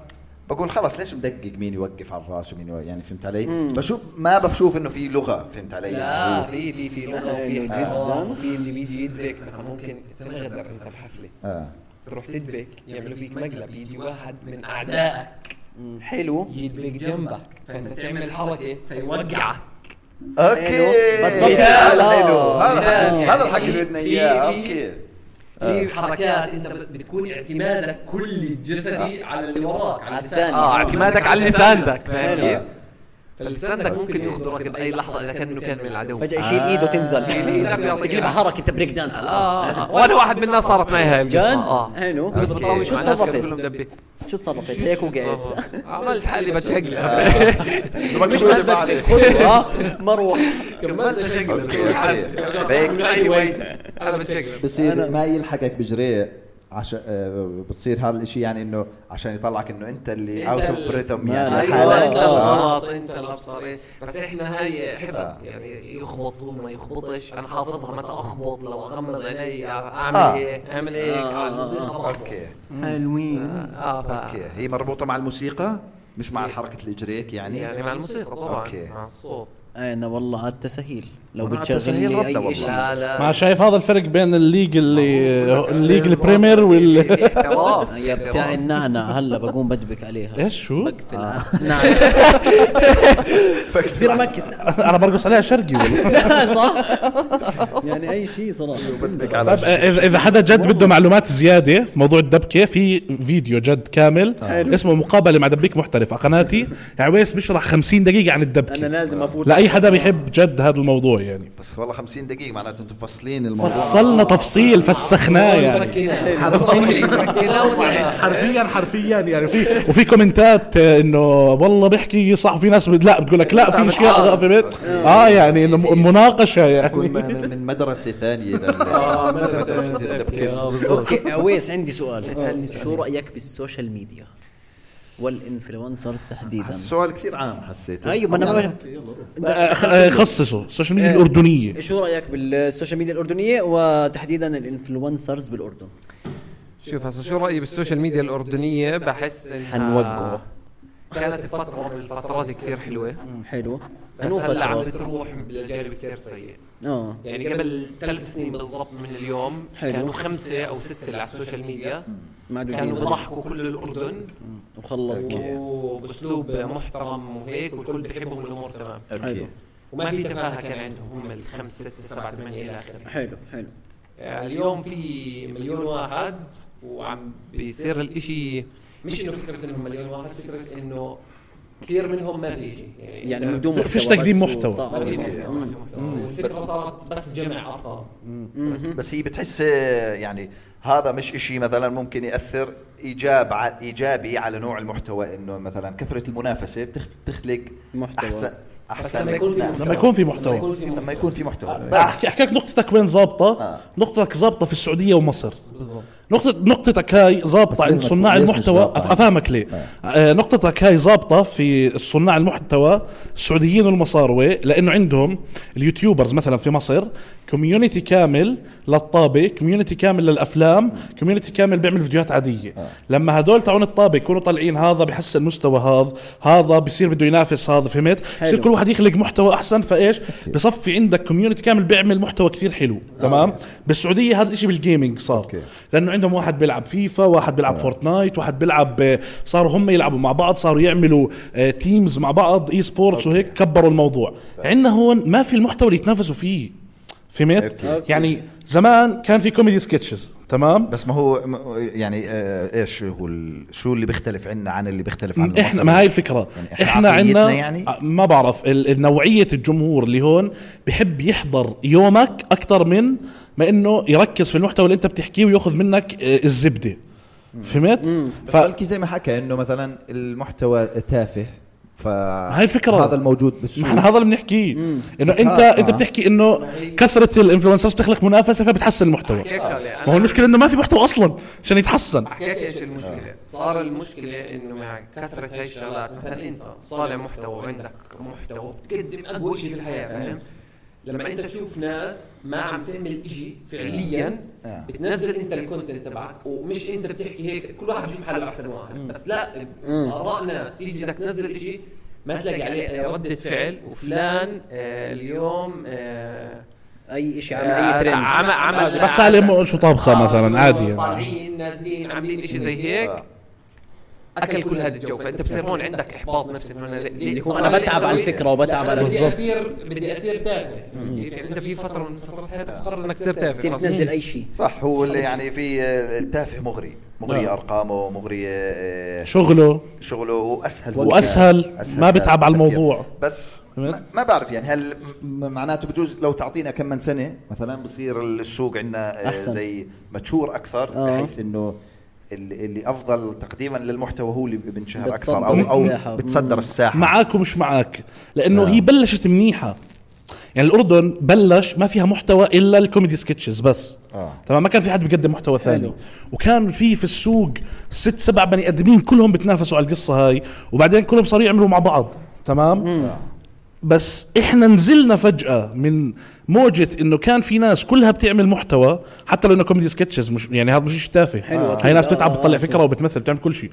Speaker 5: بقول خلص ليش مدقق مين يوقف على الراس ومين يوقف يعني فهمت علي؟ بشوف ما بشوف انه في لغه فهمت علي؟
Speaker 6: لا
Speaker 5: يعني
Speaker 6: في في في لغه وفي احترام وفي اللي بيجي يدبك مثلا ممكن تنغدر انت بحفله
Speaker 5: آه.
Speaker 6: تروح تدبك يعملوا فيك مقلب يجي واحد من اعدائك
Speaker 2: حلو
Speaker 6: يدبق جنبك فانت تعمل حركه فيوقعك
Speaker 5: اوكي
Speaker 2: حلو. بتصفي.
Speaker 5: هذا
Speaker 2: آه.
Speaker 5: حلو هذا
Speaker 6: يعني
Speaker 5: هذا الحكي اللي بدنا
Speaker 6: في-
Speaker 5: اياه
Speaker 6: في-
Speaker 5: اوكي
Speaker 6: في حركات انت بت- بتكون اعتمادك كلي الجسدي على اللي وراك على اللسان
Speaker 2: لساني.
Speaker 6: اه آه. اعتمادك على لساندك فاهم
Speaker 2: حلو.
Speaker 6: كيف؟ فلسانك ممكن يخضرك باي لحظه اذا كان انه كان من العدو
Speaker 2: فجاه يشيل ايده تنزل
Speaker 6: يشيل إيدك ويعطيك
Speaker 2: تقلبها
Speaker 6: إياها.
Speaker 2: حركه انت بريك دانس
Speaker 6: آه، آه وانا واحد منا صارت معي هاي القصه
Speaker 2: جد؟
Speaker 6: اه
Speaker 2: حلو.
Speaker 6: كنت بطاوش
Speaker 5: أوكي.
Speaker 6: مع
Speaker 2: شو
Speaker 6: ناس
Speaker 2: تصرفت؟
Speaker 6: كانوا كلهم دبي
Speaker 2: شو تصرفت هيك وقعت
Speaker 6: عملت حالي بتشقلب
Speaker 2: مش بس آه، بدك خطوه مروه
Speaker 6: كملت اشقلب
Speaker 5: أوكي. هيك.
Speaker 6: اي ويت انا بتشقلب
Speaker 4: بصير ما يلحقك بجريه عشان آه، بتصير هذا الاشي يعني انه عشان يطلعك انه انت اللي
Speaker 6: أنت
Speaker 5: اوت اوف
Speaker 6: اللي-
Speaker 5: ريثم
Speaker 4: ما
Speaker 5: يعني
Speaker 2: أيوة،
Speaker 4: لك.
Speaker 6: ايوه انت
Speaker 4: حالك.
Speaker 6: الغلط انت الابصر بس احنا هاي حفظ يعني يخبط هو ما يخبطش انا حافظها متى اخبط لو اغمض عيني اعمل
Speaker 5: آه.
Speaker 6: ايه اعمل ايه على الموسيقى بخبط
Speaker 5: اوكي
Speaker 2: حلوين
Speaker 6: اه ف
Speaker 5: اوكي هي مربوطه مع الموسيقى مش
Speaker 6: إيه.
Speaker 5: مع حركه الاجريك يعني
Speaker 6: يعني مع الموسيقى طبعا
Speaker 5: أوكي.
Speaker 6: مع الصوت
Speaker 2: انا والله على التسهيل لو
Speaker 5: أنا على
Speaker 2: بتشغل
Speaker 5: التسهيل
Speaker 2: لي
Speaker 5: ربنا
Speaker 2: اي
Speaker 5: والله.
Speaker 2: شيء
Speaker 6: لا لا
Speaker 1: ما شايف هذا الفرق بين الليج اللي الليج
Speaker 6: بالضبط. إيه،
Speaker 1: البريمير
Speaker 6: في-
Speaker 1: وال
Speaker 6: في احتراف.
Speaker 2: يا بتاع النعنع هلا بقوم بدبك عليها
Speaker 1: ايش شو؟
Speaker 2: نعم
Speaker 5: فكثير
Speaker 2: مركز
Speaker 1: انا برقص عليها شرقي والله
Speaker 2: صح يعني اي شيء صراحه
Speaker 5: بدك
Speaker 1: طب
Speaker 5: على
Speaker 6: إيه.
Speaker 1: اذا طيب، إذا حدا جد بده معلومات زياده في موضوع الدبكه في فيديو جد كامل اسمه مقابله مع دبيك محترف على قناتي يعني عويس بيشرح 50 دقيقه عن
Speaker 2: انا
Speaker 1: الدبكه
Speaker 2: لازم افوت
Speaker 1: لاي حدا بيحب جد هذا الموضوع يعني
Speaker 5: بس والله 50 دقيقه معناته انتم مفصلين الموضوع
Speaker 1: فصلنا تفصيل فسخناه يعني
Speaker 6: فكينا حرفيا فكينا وطلعنا
Speaker 1: حرفيا حرفيا يعني في وفي كومنتات آه، انه والله بيحكي صح في ناس بت- لا بتقول لك لا في
Speaker 2: آه.
Speaker 1: اشياء في بيت اه يعني إنه م- مناقشه
Speaker 5: كل
Speaker 1: يعني
Speaker 5: ما- من من مدرسه ثانيه
Speaker 6: آه،
Speaker 5: لل-
Speaker 6: مدرسة
Speaker 5: مدرسه
Speaker 6: الدبكة.
Speaker 5: الدبكه
Speaker 6: آه، بالضبط
Speaker 2: اوكي عويس عندي سؤال شو رايك بالسوشيال ميديا والانفلونسرز تحديدا
Speaker 5: السؤال كثير عام حسيت
Speaker 6: أيوة.
Speaker 2: ايوه ما إيه. انا
Speaker 1: آه، خ- آه، خصصوا السوشيال ميديا الاردنيه
Speaker 2: شو رايك بالسوشيال ميديا الاردنيه وتحديدا الانفلونسرز بالاردن
Speaker 6: شوف هسه شو رايي بالسوشيال ميديا الاردنيه بحس انها
Speaker 2: حنوجهه.
Speaker 6: كانت فتره من الفترات كثير حلوه
Speaker 2: حلو
Speaker 6: بس هلا عم بتروح لجانب كثير سيء
Speaker 2: اه
Speaker 6: يعني قبل ثلاث سنين بالضبط من اليوم
Speaker 2: حلو.
Speaker 6: كانوا خمسه او سته اللي على السوشيال ميديا كانوا
Speaker 2: معدودين
Speaker 6: بضحكوا كل الاردن
Speaker 2: وخلصنا
Speaker 6: وباسلوب محترم وهيك والكل بيحبهم والامور تمام
Speaker 2: حلو
Speaker 5: اوكي
Speaker 6: وما في تفاهه كان عندهم هم الخمس ست سبعة ثمانية إلى آخره
Speaker 2: حلو حلو
Speaker 6: آه، اليوم في مليون واحد وعم بيصير الإشي مش إنه فكرة إنه مليون واحد فكرة إنه كثير منهم ما في إشي
Speaker 2: يعني
Speaker 6: أنت-
Speaker 2: من دون محتوى
Speaker 1: فيش
Speaker 2: بس
Speaker 1: تقديم محتوى.
Speaker 2: وطاقة.
Speaker 6: ما في محتوى، ما في محتوى والفكرة صارت بس جمع أرقام
Speaker 5: بس هي بتحس يعني هذا مش إشي مثلا ممكن ياثر ايجاب ع- ايجابي على نوع المحتوى انه مثلا كثره المنافسه بتخ- بتخلق
Speaker 2: محتوى.
Speaker 5: احسن
Speaker 6: بس
Speaker 5: احسن
Speaker 6: لما يكون في
Speaker 5: ناس.
Speaker 6: محتوى-
Speaker 1: لما يكون في محتوى. آه.
Speaker 6: لما يكون في
Speaker 5: لما
Speaker 6: محتوى
Speaker 5: يكون في محتوى
Speaker 1: احكي
Speaker 5: بس
Speaker 1: احكي لك نقطتك وين ظابطه
Speaker 5: آه.
Speaker 1: نقطتك ظابطه في السعوديه ومصر
Speaker 6: بالضبط
Speaker 1: نقطة نقطتك هاي ظابطة
Speaker 4: بس
Speaker 1: عند
Speaker 4: ليش
Speaker 1: صناع
Speaker 4: مش
Speaker 1: المحتوى
Speaker 4: ظابطة؟
Speaker 1: أفهمك ليه آه، نقطتك هاي ظابطة في صناع المحتوى السعوديين والمصاروة لأنه عندهم اليوتيوبرز مثلا في مصر كوميونيتي كامل للطابة كوميونيتي كامل للأفلام كوميونيتي كامل بيعمل فيديوهات عادية لما هدول تاعون الطابة يكونوا طالعين هذا بحسن مستوى هذا هذا بصير بده ينافس هذا فهمت بصير
Speaker 2: حلو.
Speaker 1: كل واحد يخلق محتوى أحسن فإيش بصفي عندك كوميونيتي كامل بيعمل محتوى كثير حلو تمام بالسعودية هذا الشيء بالجيمنج صار
Speaker 4: أوكي.
Speaker 1: لانه عندهم واحد بيلعب فيفا واحد
Speaker 5: نعم.
Speaker 1: بيلعب فورتنايت واحد بيلعب آه، صاروا هم يلعبوا مع بعض صاروا يعملوا آه، تيمز مع بعض اي سبورتس وهيك كبروا الموضوع
Speaker 5: نعم.
Speaker 1: عندنا هون ما في المحتوى اللي يتنافسوا فيه فهمت
Speaker 5: أوكي.
Speaker 1: يعني زمان كان في كوميدي سكتشز تمام
Speaker 5: بس ما هو م- يعني آه، ايش هو ال- شو اللي بيختلف عنا عن اللي بيختلف عن
Speaker 1: احنا ما هاي الفكره
Speaker 5: يعني إحنا
Speaker 1: احنا عندنا
Speaker 5: عقليتنا يعني؟
Speaker 1: آه، ما بعرف ال- ال- نوعيه الجمهور اللي هون بحب يحضر يومك اكثر من ما انه يركز في المحتوى اللي انت بتحكيه وياخذ منك آه، الزبده فهمت؟
Speaker 5: ف... بلكي زي ما حكى انه مثلا المحتوى تافه ف هاي
Speaker 1: الفكرة.
Speaker 5: هذا الموجود بالسوق
Speaker 1: ما احنا هذا اللي بنحكيه انه
Speaker 5: بس
Speaker 1: انت
Speaker 5: ها-
Speaker 1: انت
Speaker 5: آه.
Speaker 1: بتحكي انه كثره الانفلونسرز بتخلق منافسه فبتحسن المحتوى
Speaker 6: أحكيك شغلة
Speaker 1: ما هو
Speaker 6: أنا-
Speaker 1: المشكله انه ما في محتوى اصلا عشان يتحسن
Speaker 6: حكيت ايش المشكله صار المشكله انه مع كثره هاي الشغلات مثلا انت صانع محتوى وعندك محتوى بتقدم اقوى شيء في الحياه فاهم آه. لما انت تشوف ناس ما عم تعمل إشي فعليا بتنزل انت الكونتنت تبعك ومش انت بتحكي هيك كل واحد بيشوف حاله احسن واحد بس لا اراء ناس تيجي بدك تنزل إشي ما تلاقي عليه أي ردة فعل وفلان آه اليوم آه
Speaker 2: اي شيء عمل اي ترند
Speaker 6: عمل عمل
Speaker 1: بس على شو طابخه
Speaker 6: آه،
Speaker 1: مثلا عادي يعني
Speaker 6: طالعين نازلين عاملين شيء زي هيك اكل كل هذا الجو فانت بصير هون عندك احباط نفسي انه انا ليه-
Speaker 2: اللي هو
Speaker 6: ليه-
Speaker 2: انا بتعب على
Speaker 6: ليه-
Speaker 2: الفكره وبتعب على
Speaker 6: بدي
Speaker 2: الرسالة.
Speaker 6: اصير بدي اصير تافه كيف؟ يعني انت في فتره من فترات حياتك قررت انك تصير تافه
Speaker 2: تصير
Speaker 6: خلاص.
Speaker 2: تنزل اي شيء
Speaker 5: صح هو اللي يعني في آه، التافه مغري
Speaker 1: نعم.
Speaker 5: مغري ارقامه مغري آه،
Speaker 1: شغله
Speaker 5: شغله واسهل
Speaker 1: وأسهل، ما بتعب على الموضوع.
Speaker 5: بس ما ما بعرف يعني هل م- معناته بجوز لو تعطينا كم من سنه مثلا بصير السوق عندنا
Speaker 2: أحسن.
Speaker 5: أحسن. زي ماتشور اكثر
Speaker 2: آه.
Speaker 5: بحيث انه اللي اللي افضل تقديما للمحتوى هو اللي بنشهر اكثر
Speaker 2: بتصدر
Speaker 5: او
Speaker 2: الساحة.
Speaker 5: او بتصدر الساحه
Speaker 1: معاك ومش معاك لانه هي بلشت منيحه يعني الاردن بلش ما فيها محتوى الا الكوميدي سكتشز بس
Speaker 5: آه.
Speaker 1: تمام ما كان في حد بيقدم محتوى ثاني
Speaker 2: حلو.
Speaker 1: وكان في في السوق ست سبع بني ادمين كلهم بتنافسوا على القصه هاي وبعدين كلهم صاروا يعملوا مع بعض تمام بس احنا نزلنا فجاه من موجه انه كان في ناس كلها بتعمل محتوى حتى لو انه كوميدي سكتشز مش يعني هذا مش شيء تافه
Speaker 2: حلو، أكيد.
Speaker 1: هاي ناس
Speaker 2: آه،
Speaker 1: بتتعب
Speaker 2: آه،
Speaker 1: بتطلع
Speaker 2: آه،
Speaker 1: فكره وبتمثل بتعمل كل شيء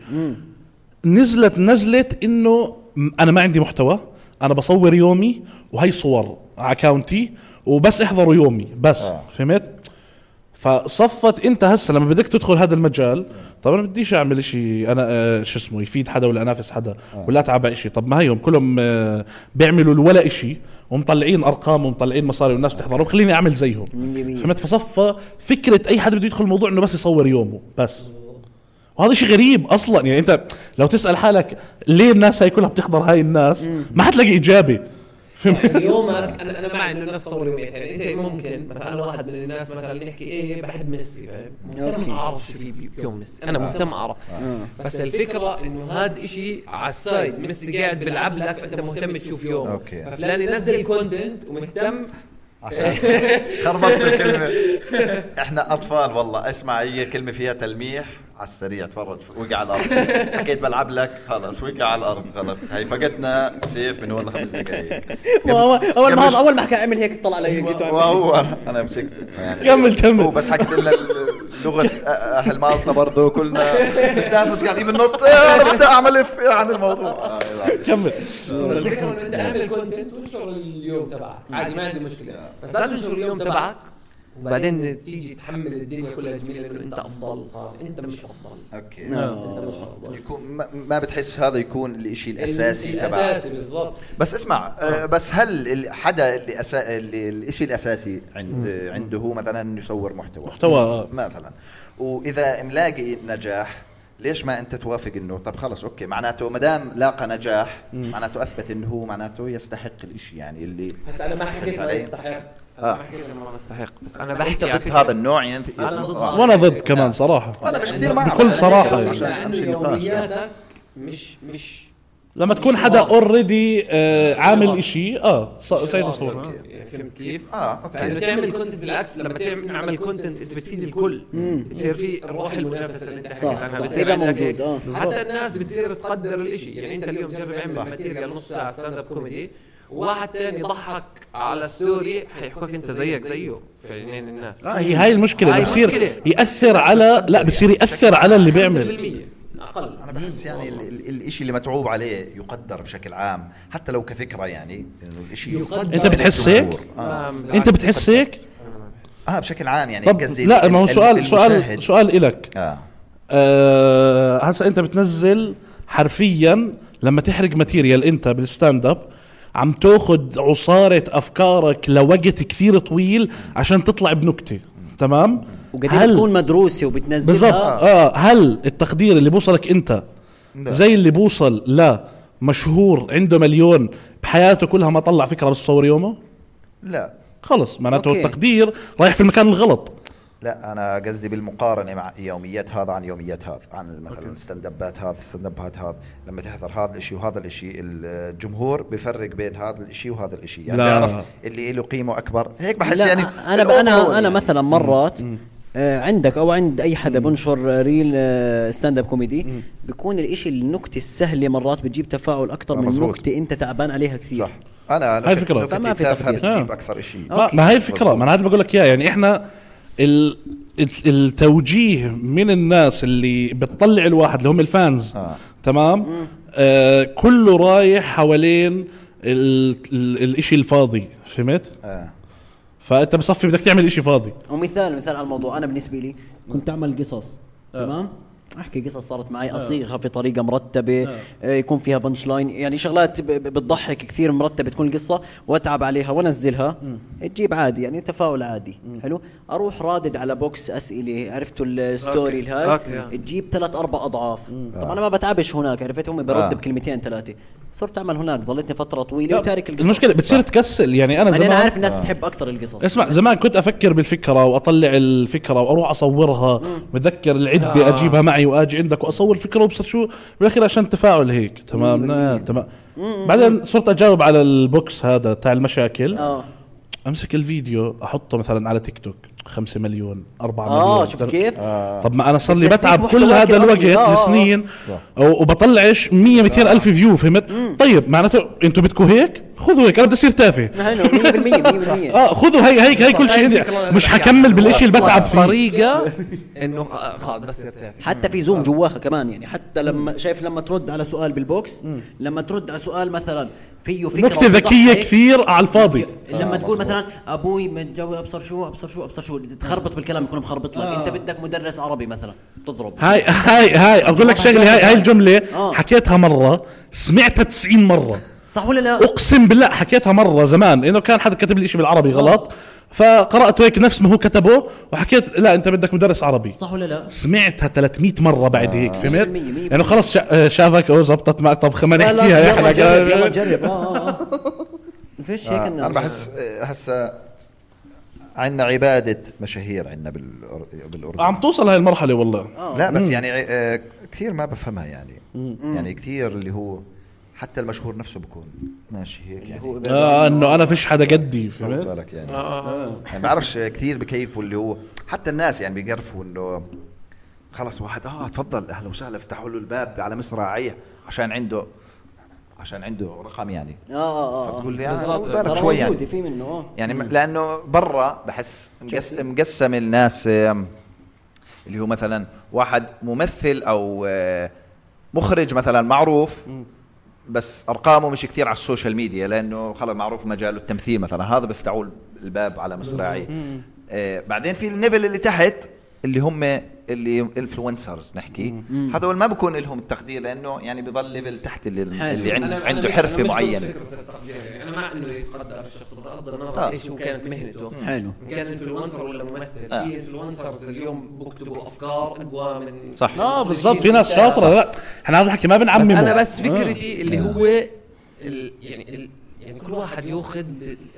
Speaker 1: نزلت نزلت انه م- انا ما عندي محتوى انا بصور يومي وهي صور على اكاونتي وبس احضروا يومي بس آه. فهمت فصفت انت هسه لما بدك تدخل هذا المجال طب انا بديش اعمل اشي انا آه، شو اسمه يفيد حدا ولا انافس حدا ولا اتعب على اشي طب ما هيهم كلهم آه، بيعملوا ولا اشي ومطلعين ارقام ومطلعين مصاري والناس بتحضرهم خليني اعمل زيهم فهمت فصفى فكره اي حدا بده يدخل الموضوع انه بس يصور يومه بس وهذا شيء غريب اصلا يعني انت لو تسال حالك ليه الناس هاي كلها بتحضر هاي الناس ما حتلاقي اجابه فهمت
Speaker 6: اليوم انا انا مع انه الناس تصور يوميات يعني انت ممكن مثلا انا واحد من الناس مثلا نحكي ايه بحب ميسي فاهم؟ مهتم اعرف شو في بيوم ميسي انا مهتم اعرف بس الفكره انه هذا إشي على السايد ميسي قاعد بيلعب لك فانت مهتم تشوف يوم
Speaker 5: أوكي.
Speaker 6: ففلان ينزل كونتنت ومهتم
Speaker 5: خربطت الكلمه احنا اطفال والله اسمع هي كلمه فيها تلميح على السريع تفرج وقع على الارض حكيت بلعب لك خلص وقع على الارض خلص هي فقدنا سيف من هون لخمس دقائق
Speaker 2: هو- اول ما
Speaker 5: قبل-
Speaker 2: هذا اول ما حكى اعمل هيك طلع علي قلت له اعمل
Speaker 5: وهو انا مسكت يعني
Speaker 1: كمل
Speaker 5: هو
Speaker 1: كمل
Speaker 5: بس حكيت لنا لغه اهل مالطا برضه كلنا بنتنافس قاعدين بننط انا بدي اعمل إف إيه، عن الموضوع
Speaker 1: كمل
Speaker 6: الفكره انه انت اعمل كونتنت وانشر اليوم تبعك عادي ما عندي مشكله بس لا تنشر اليوم تبعك وبعدين تيجي تحمل الدنيا كلها جميله لانه انت افضل صار انت مش افضل
Speaker 5: اوكي
Speaker 6: انت مش افضل
Speaker 5: يكون ما- ما بتحس هذا يكون الاشي الاساسي تبعك
Speaker 6: الاساسي بالضبط
Speaker 5: بس اسمع آه، بس هل ال- حدا اللي أسا... اللي الشيء الاساسي عند... آه، عنده هو مثلا إنه يصور محتوى
Speaker 1: محتوى، آه.
Speaker 5: مثلا واذا ملاقي نجاح ليش ما انت توافق انه طب خلص اوكي معناته ما دام لاقى نجاح معناته اثبت انه هو معناته يستحق الاشي يعني اللي
Speaker 6: هسا انا ما حكيت ما
Speaker 5: علي.
Speaker 6: يستحق انا
Speaker 5: آه.
Speaker 6: ما حكيت انه ما يستحق بس انا
Speaker 5: انت
Speaker 6: بحكي
Speaker 5: ضد هذا النوع يعني أنت-
Speaker 6: أنا ضد
Speaker 5: آه.
Speaker 1: وانا ضد كمان صراحه
Speaker 5: انا مش كثير معه
Speaker 1: بكل صراحة يعني.
Speaker 5: عشان-
Speaker 6: لانه
Speaker 5: عشان نقاش يعني.
Speaker 6: يومياتك مش مش
Speaker 1: لما تكون حدا اوريدي عامل اشي اه ص- سيد تصور
Speaker 6: يعني فهمت كيف؟
Speaker 5: اه اوكي
Speaker 6: فانه تعمل كونتنت بالعكس لما تعمل نعمل كونتنت انت بتفيد الكل بتصير في روح المنافسه اللي انت حكيت
Speaker 2: صح،
Speaker 6: عنها
Speaker 2: صح.
Speaker 6: بتصير
Speaker 2: إذا
Speaker 6: عندك
Speaker 2: موجود،
Speaker 6: هيك.
Speaker 2: آه.
Speaker 6: حتى الناس بتصير تقدر الاشي يعني انت اليوم جرب اعمل ماتيريال نص ساعه ستاند اب كوميدي واحد تاني ضحك على ستوري حيحكوك انت زيك زيه في عينين الناس
Speaker 1: لا هي هاي المشكله
Speaker 6: هاي
Speaker 1: اللي بصير
Speaker 6: مشكلة.
Speaker 1: ياثر على لا بصير ياثر على اللي بيعمل
Speaker 6: 5% اقل
Speaker 5: انا بحس يعني ال- ال- الاشي اللي متعوب عليه يقدر بشكل عام حتى لو كفكره يعني انه الاشي
Speaker 6: يقدر.
Speaker 1: انت بتحس هيك
Speaker 5: آه.
Speaker 1: انت بتحس هيك
Speaker 5: اه بشكل عام يعني
Speaker 1: طب لا
Speaker 5: ال-
Speaker 1: ما هو
Speaker 5: ال-
Speaker 1: سؤال
Speaker 5: المشاهد.
Speaker 1: سؤال سؤال الك
Speaker 5: اه
Speaker 1: آه، هسا انت بتنزل حرفيا لما تحرق ماتيريال انت بالستاند اب عم تاخد عصارة افكارك لوقت كثير طويل عشان تطلع بنكتة تمام
Speaker 2: وقد تكون مدروسه وبتنزلها آه،
Speaker 1: بالضبط اه هل التقدير اللي بوصلك انت زي اللي بوصل لا مشهور عنده مليون بحياته كلها ما طلع فكرة بس صور يومه
Speaker 5: لا
Speaker 1: خلص معناته
Speaker 2: أوكي.
Speaker 1: التقدير رايح في المكان الغلط
Speaker 5: لا انا قصدي بالمقارنه مع يوميات هذا عن يوميات هذا عن مثلا ستاند ابات هذا ستاند ابات هذا لما تحضر هذا الشيء وهذا الشيء الجمهور بفرق بين هذا الشيء وهذا الشيء يعني
Speaker 1: لا.
Speaker 5: بيعرف اللي له قيمه اكبر هيك بحس
Speaker 2: لا
Speaker 5: يعني
Speaker 2: انا
Speaker 5: الأوفرول
Speaker 2: انا انا
Speaker 5: يعني.
Speaker 2: مثلا مرات آه، عندك او عند اي حدا بنشر ريل ستاند اب كوميدي بيكون الاشي النكته السهله مرات بتجيب تفاعل اكثر
Speaker 5: آه،
Speaker 2: من
Speaker 5: مزبوط.
Speaker 2: نكته انت تعبان عليها كثير
Speaker 5: صح انا
Speaker 1: هاي فكرة. آه.
Speaker 5: فما
Speaker 2: فما
Speaker 5: في
Speaker 2: في
Speaker 5: تافهه
Speaker 2: تقدير.
Speaker 5: بتجيب اكثر شيء
Speaker 1: ما, ما هي الفكره ما انا هذا بقول لك اياه يعني احنا ال الت- التوجيه من الناس اللي بتطلع الواحد اللي هم الفانز آه. تمام آه كله رايح حوالين ال ال الاشي الفاضي فهمت
Speaker 5: آه.
Speaker 1: فانت بصفي بدك تعمل اشي فاضي
Speaker 2: ومثال مثال على الموضوع انا بالنسبه لي كنت اعمل قصص تمام احكي قصص صارت معي اصيغها في طريقه مرتبه آه، يكون فيها بنش لاين يعني شغلات ب- ب- بتضحك كثير مرتبه تكون القصه واتعب عليها وانزلها تجيب عادي يعني تفاؤل عادي حلو اروح رادد على بوكس اسئله عرفتوا الستوري
Speaker 6: أوكي.
Speaker 2: الهاي
Speaker 6: أوكي.
Speaker 2: تجيب ثلاث اربع اضعاف طبعا انا ما بتعبش هناك عرفت هم برد
Speaker 5: آه.
Speaker 2: بكلمتين ثلاثه صرت اعمل هناك ضليتني فتره طويله وتارك القصص
Speaker 1: المشكله بتصير تكسل يعني انا
Speaker 2: يعني
Speaker 1: زمان
Speaker 2: انا عارف الناس بتحب اكثر القصص
Speaker 1: اسمع زمان كنت افكر بالفكره واطلع الفكره واروح اصورها بتذكر العده
Speaker 6: آه.
Speaker 1: اجيبها معي واجي عندك واصور فكره وبصير شو بالاخير عشان تفاعل هيك تمام آه، تمام بعدين صرت اجاوب على البوكس هذا تاع المشاكل
Speaker 2: اه
Speaker 1: امسك الفيديو احطه مثلا على تيك توك 5 مليون 4 مليون
Speaker 2: اه شفت
Speaker 1: تل-
Speaker 2: كيف؟
Speaker 1: طب ما انا صار لي
Speaker 2: بتنسيك
Speaker 1: بتعب
Speaker 2: محتوى
Speaker 1: كل هذا
Speaker 2: كده أصلي. آه،
Speaker 1: الوقت
Speaker 2: آه، آه.
Speaker 1: لسنين أو- وبطلعش 100 200 الف فيو فهمت طيب معناته انتوا بدكم هيك خذوا هيك انا بدي اصير تافه
Speaker 2: هلو 100% 100%
Speaker 1: اه خذوا هي هيك هي كل شيء
Speaker 6: طيب،
Speaker 1: عندي مش
Speaker 6: يعني
Speaker 1: حكمل بالشيء اللي بتعب فيه
Speaker 6: طريقه انه آه، خلاص بس يرتاح
Speaker 2: حتى في زوم جواها كمان يعني حتى لما شايف لما ترد على سؤال بالبوكس لما ترد على سؤال مثلا فيه فكره
Speaker 1: نكته
Speaker 2: وبتضحك،
Speaker 1: ذكيه كثير على الفاضي
Speaker 5: آه،
Speaker 2: لما تقول مثلا ابوي متجوز ابصر شو ابصر شو ابصر شو تخربط بالكلام يكون مخربط لك انت بدك مدرس عربي مثلا تضرب
Speaker 1: هاي هاي هاي اقول لك شغله هاي هاي الجمله
Speaker 2: آه.
Speaker 1: حكيتها مره سمعتها 90 مره
Speaker 2: صح ولا لا؟
Speaker 1: اقسم بالله حكيتها مره زمان انه كان حدا كتب لي شيء بالعربي
Speaker 2: آه.
Speaker 1: غلط فقراته هيك نفس ما هو كتبه وحكيت لا انت بدك مدرس عربي
Speaker 2: صح ولا لا؟ آه.
Speaker 1: سمعتها 300 مره بعد هيك فهمت؟
Speaker 2: 100%، 100%.
Speaker 1: يعني خلص شا- شافك او زبطت معك طب خلينا
Speaker 2: خلاص،
Speaker 1: نحكيها يا
Speaker 2: يلا جرب يلا
Speaker 1: حلقه
Speaker 2: جرب اه اه آه. فيش هيك
Speaker 5: انا
Speaker 2: الناس
Speaker 5: بحس آه، هسه عندنا عباده مشاهير عندنا بالاردن
Speaker 1: عم توصل هاي المرحله والله
Speaker 5: لا بس يعني آه، كثير ما بفهمها يعني يعني كثير اللي هو حتى المشهور نفسه بكون ماشي هيك يعني
Speaker 1: آه انه انا فيش حدا قدي
Speaker 5: طول
Speaker 1: فهمت؟
Speaker 5: بالك يعني يعني ما بعرفش كثير بكيفوا اللي هو حتى الناس يعني بيقرفوا انه خلص واحد اه تفضل اهلا وسهلا افتحوا له الباب على مصراعيه عشان عنده عشان عنده رقم يعني
Speaker 2: اه اه اه
Speaker 5: فبتقول لي آه،
Speaker 6: بالظبط.
Speaker 5: طول بالك
Speaker 2: ترى
Speaker 5: شوي يعني
Speaker 2: موجودة، في منه اه
Speaker 5: يعني م- لانه برا بحس مقس- مقسم الناس آم، اللي هو مثلا واحد ممثل او آه، مخرج مثلا معروف بس ارقامه مش كثير على السوشيال ميديا لانه خلص معروف مجاله التمثيل مثلا هذا بيفتحوا الباب على مصراعيه آه، بعدين في النيفل اللي تحت اللي هم اللي انفلونسرز نحكي هذول ما بكون لهم التقدير لانه يعني بضل ليفل تحت اللي, اللي
Speaker 6: أنا-
Speaker 5: عنده,
Speaker 6: أنا
Speaker 5: عنده
Speaker 6: مش- أنا
Speaker 5: حرفه
Speaker 6: مش ضد
Speaker 5: معينه
Speaker 6: فكرة التقدير، يعني انا مع انه يتقدر الشخص بغض النظر
Speaker 5: آه.
Speaker 6: ايش هو كانت مهنته
Speaker 2: حلو
Speaker 6: إن كان انفلونسر ولا ممثل
Speaker 5: آه.
Speaker 6: في انفلونسرز اليوم بكتبوا افكار اقوى من
Speaker 5: صح.
Speaker 1: اه بالضبط في ناس شاطره لا احنا هذا الحكي ما
Speaker 6: بس
Speaker 1: بنعممه
Speaker 6: انا بس
Speaker 1: آه.
Speaker 6: فكرتي اللي هو ال يعني ال يعني كل واحد ياخذ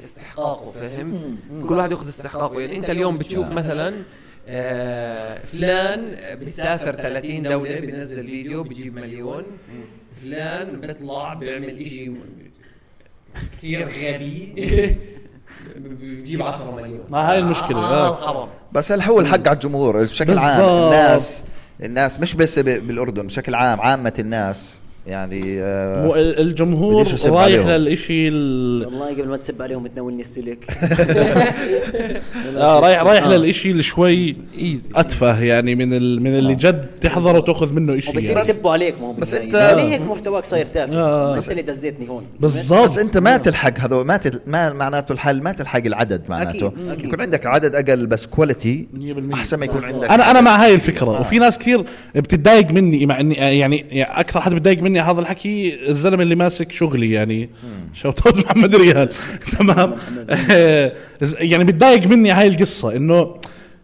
Speaker 6: استحقاقه فاهم كل واحد ياخذ استحقاقه يعني انت اليوم بتشوف مثلا آه فلان بيسافر 30 دوله بينزل فيديو بجيب مليون فلان بيطلع بيعمل إشي م- كثير غبي بجيب 10 مليون
Speaker 1: ما هاي المشكلة.
Speaker 6: اه,
Speaker 1: آه.
Speaker 6: آه الحرام
Speaker 5: بس هل هو الحق على الجمهور بشكل عام
Speaker 1: بالظبط.
Speaker 5: الناس الناس مش بس ب- بالاردن بشكل عام عامه الناس يعني آه
Speaker 1: مو- ال- الجمهور
Speaker 5: بديش أسب
Speaker 1: رايح
Speaker 5: عليهم.
Speaker 1: للإشي ال-
Speaker 2: والله قبل ما تسب عليهم تناولني السلك
Speaker 1: آه رايح رايح للإشي اللي شوي اتفه يعني من ال... من اللي جد تحضر وتاخذ منه إشي
Speaker 2: وبصير
Speaker 1: يعني.
Speaker 2: يسبوا عليك ما هو
Speaker 5: بس
Speaker 2: بالنهاية.
Speaker 5: أنت-
Speaker 2: يعني هيك محتواك صاير تافه
Speaker 1: آه.
Speaker 2: انت اللي دزيتني هون
Speaker 5: بس
Speaker 1: بالضبط
Speaker 5: انت ما تلحق هذول ما, تل... ما معناته الحل ما تلحق العدد معناته
Speaker 2: أكيد، أكيد.
Speaker 5: يكون عندك عدد اقل بس كواليتي
Speaker 1: 100%.
Speaker 5: احسن ما يكون عندك
Speaker 1: انا انا مع
Speaker 2: إيه،
Speaker 1: هاي
Speaker 2: آه.
Speaker 1: الفكره وفي ناس كثير بتتضايق مني مع اني يعني يعني اكثر حد بتضايق مني هذا الحكي الزلمه اللي ماسك شغلي يعني شوت اوت محمد ريال تمام يعني بتضايق مني هاي القصه انه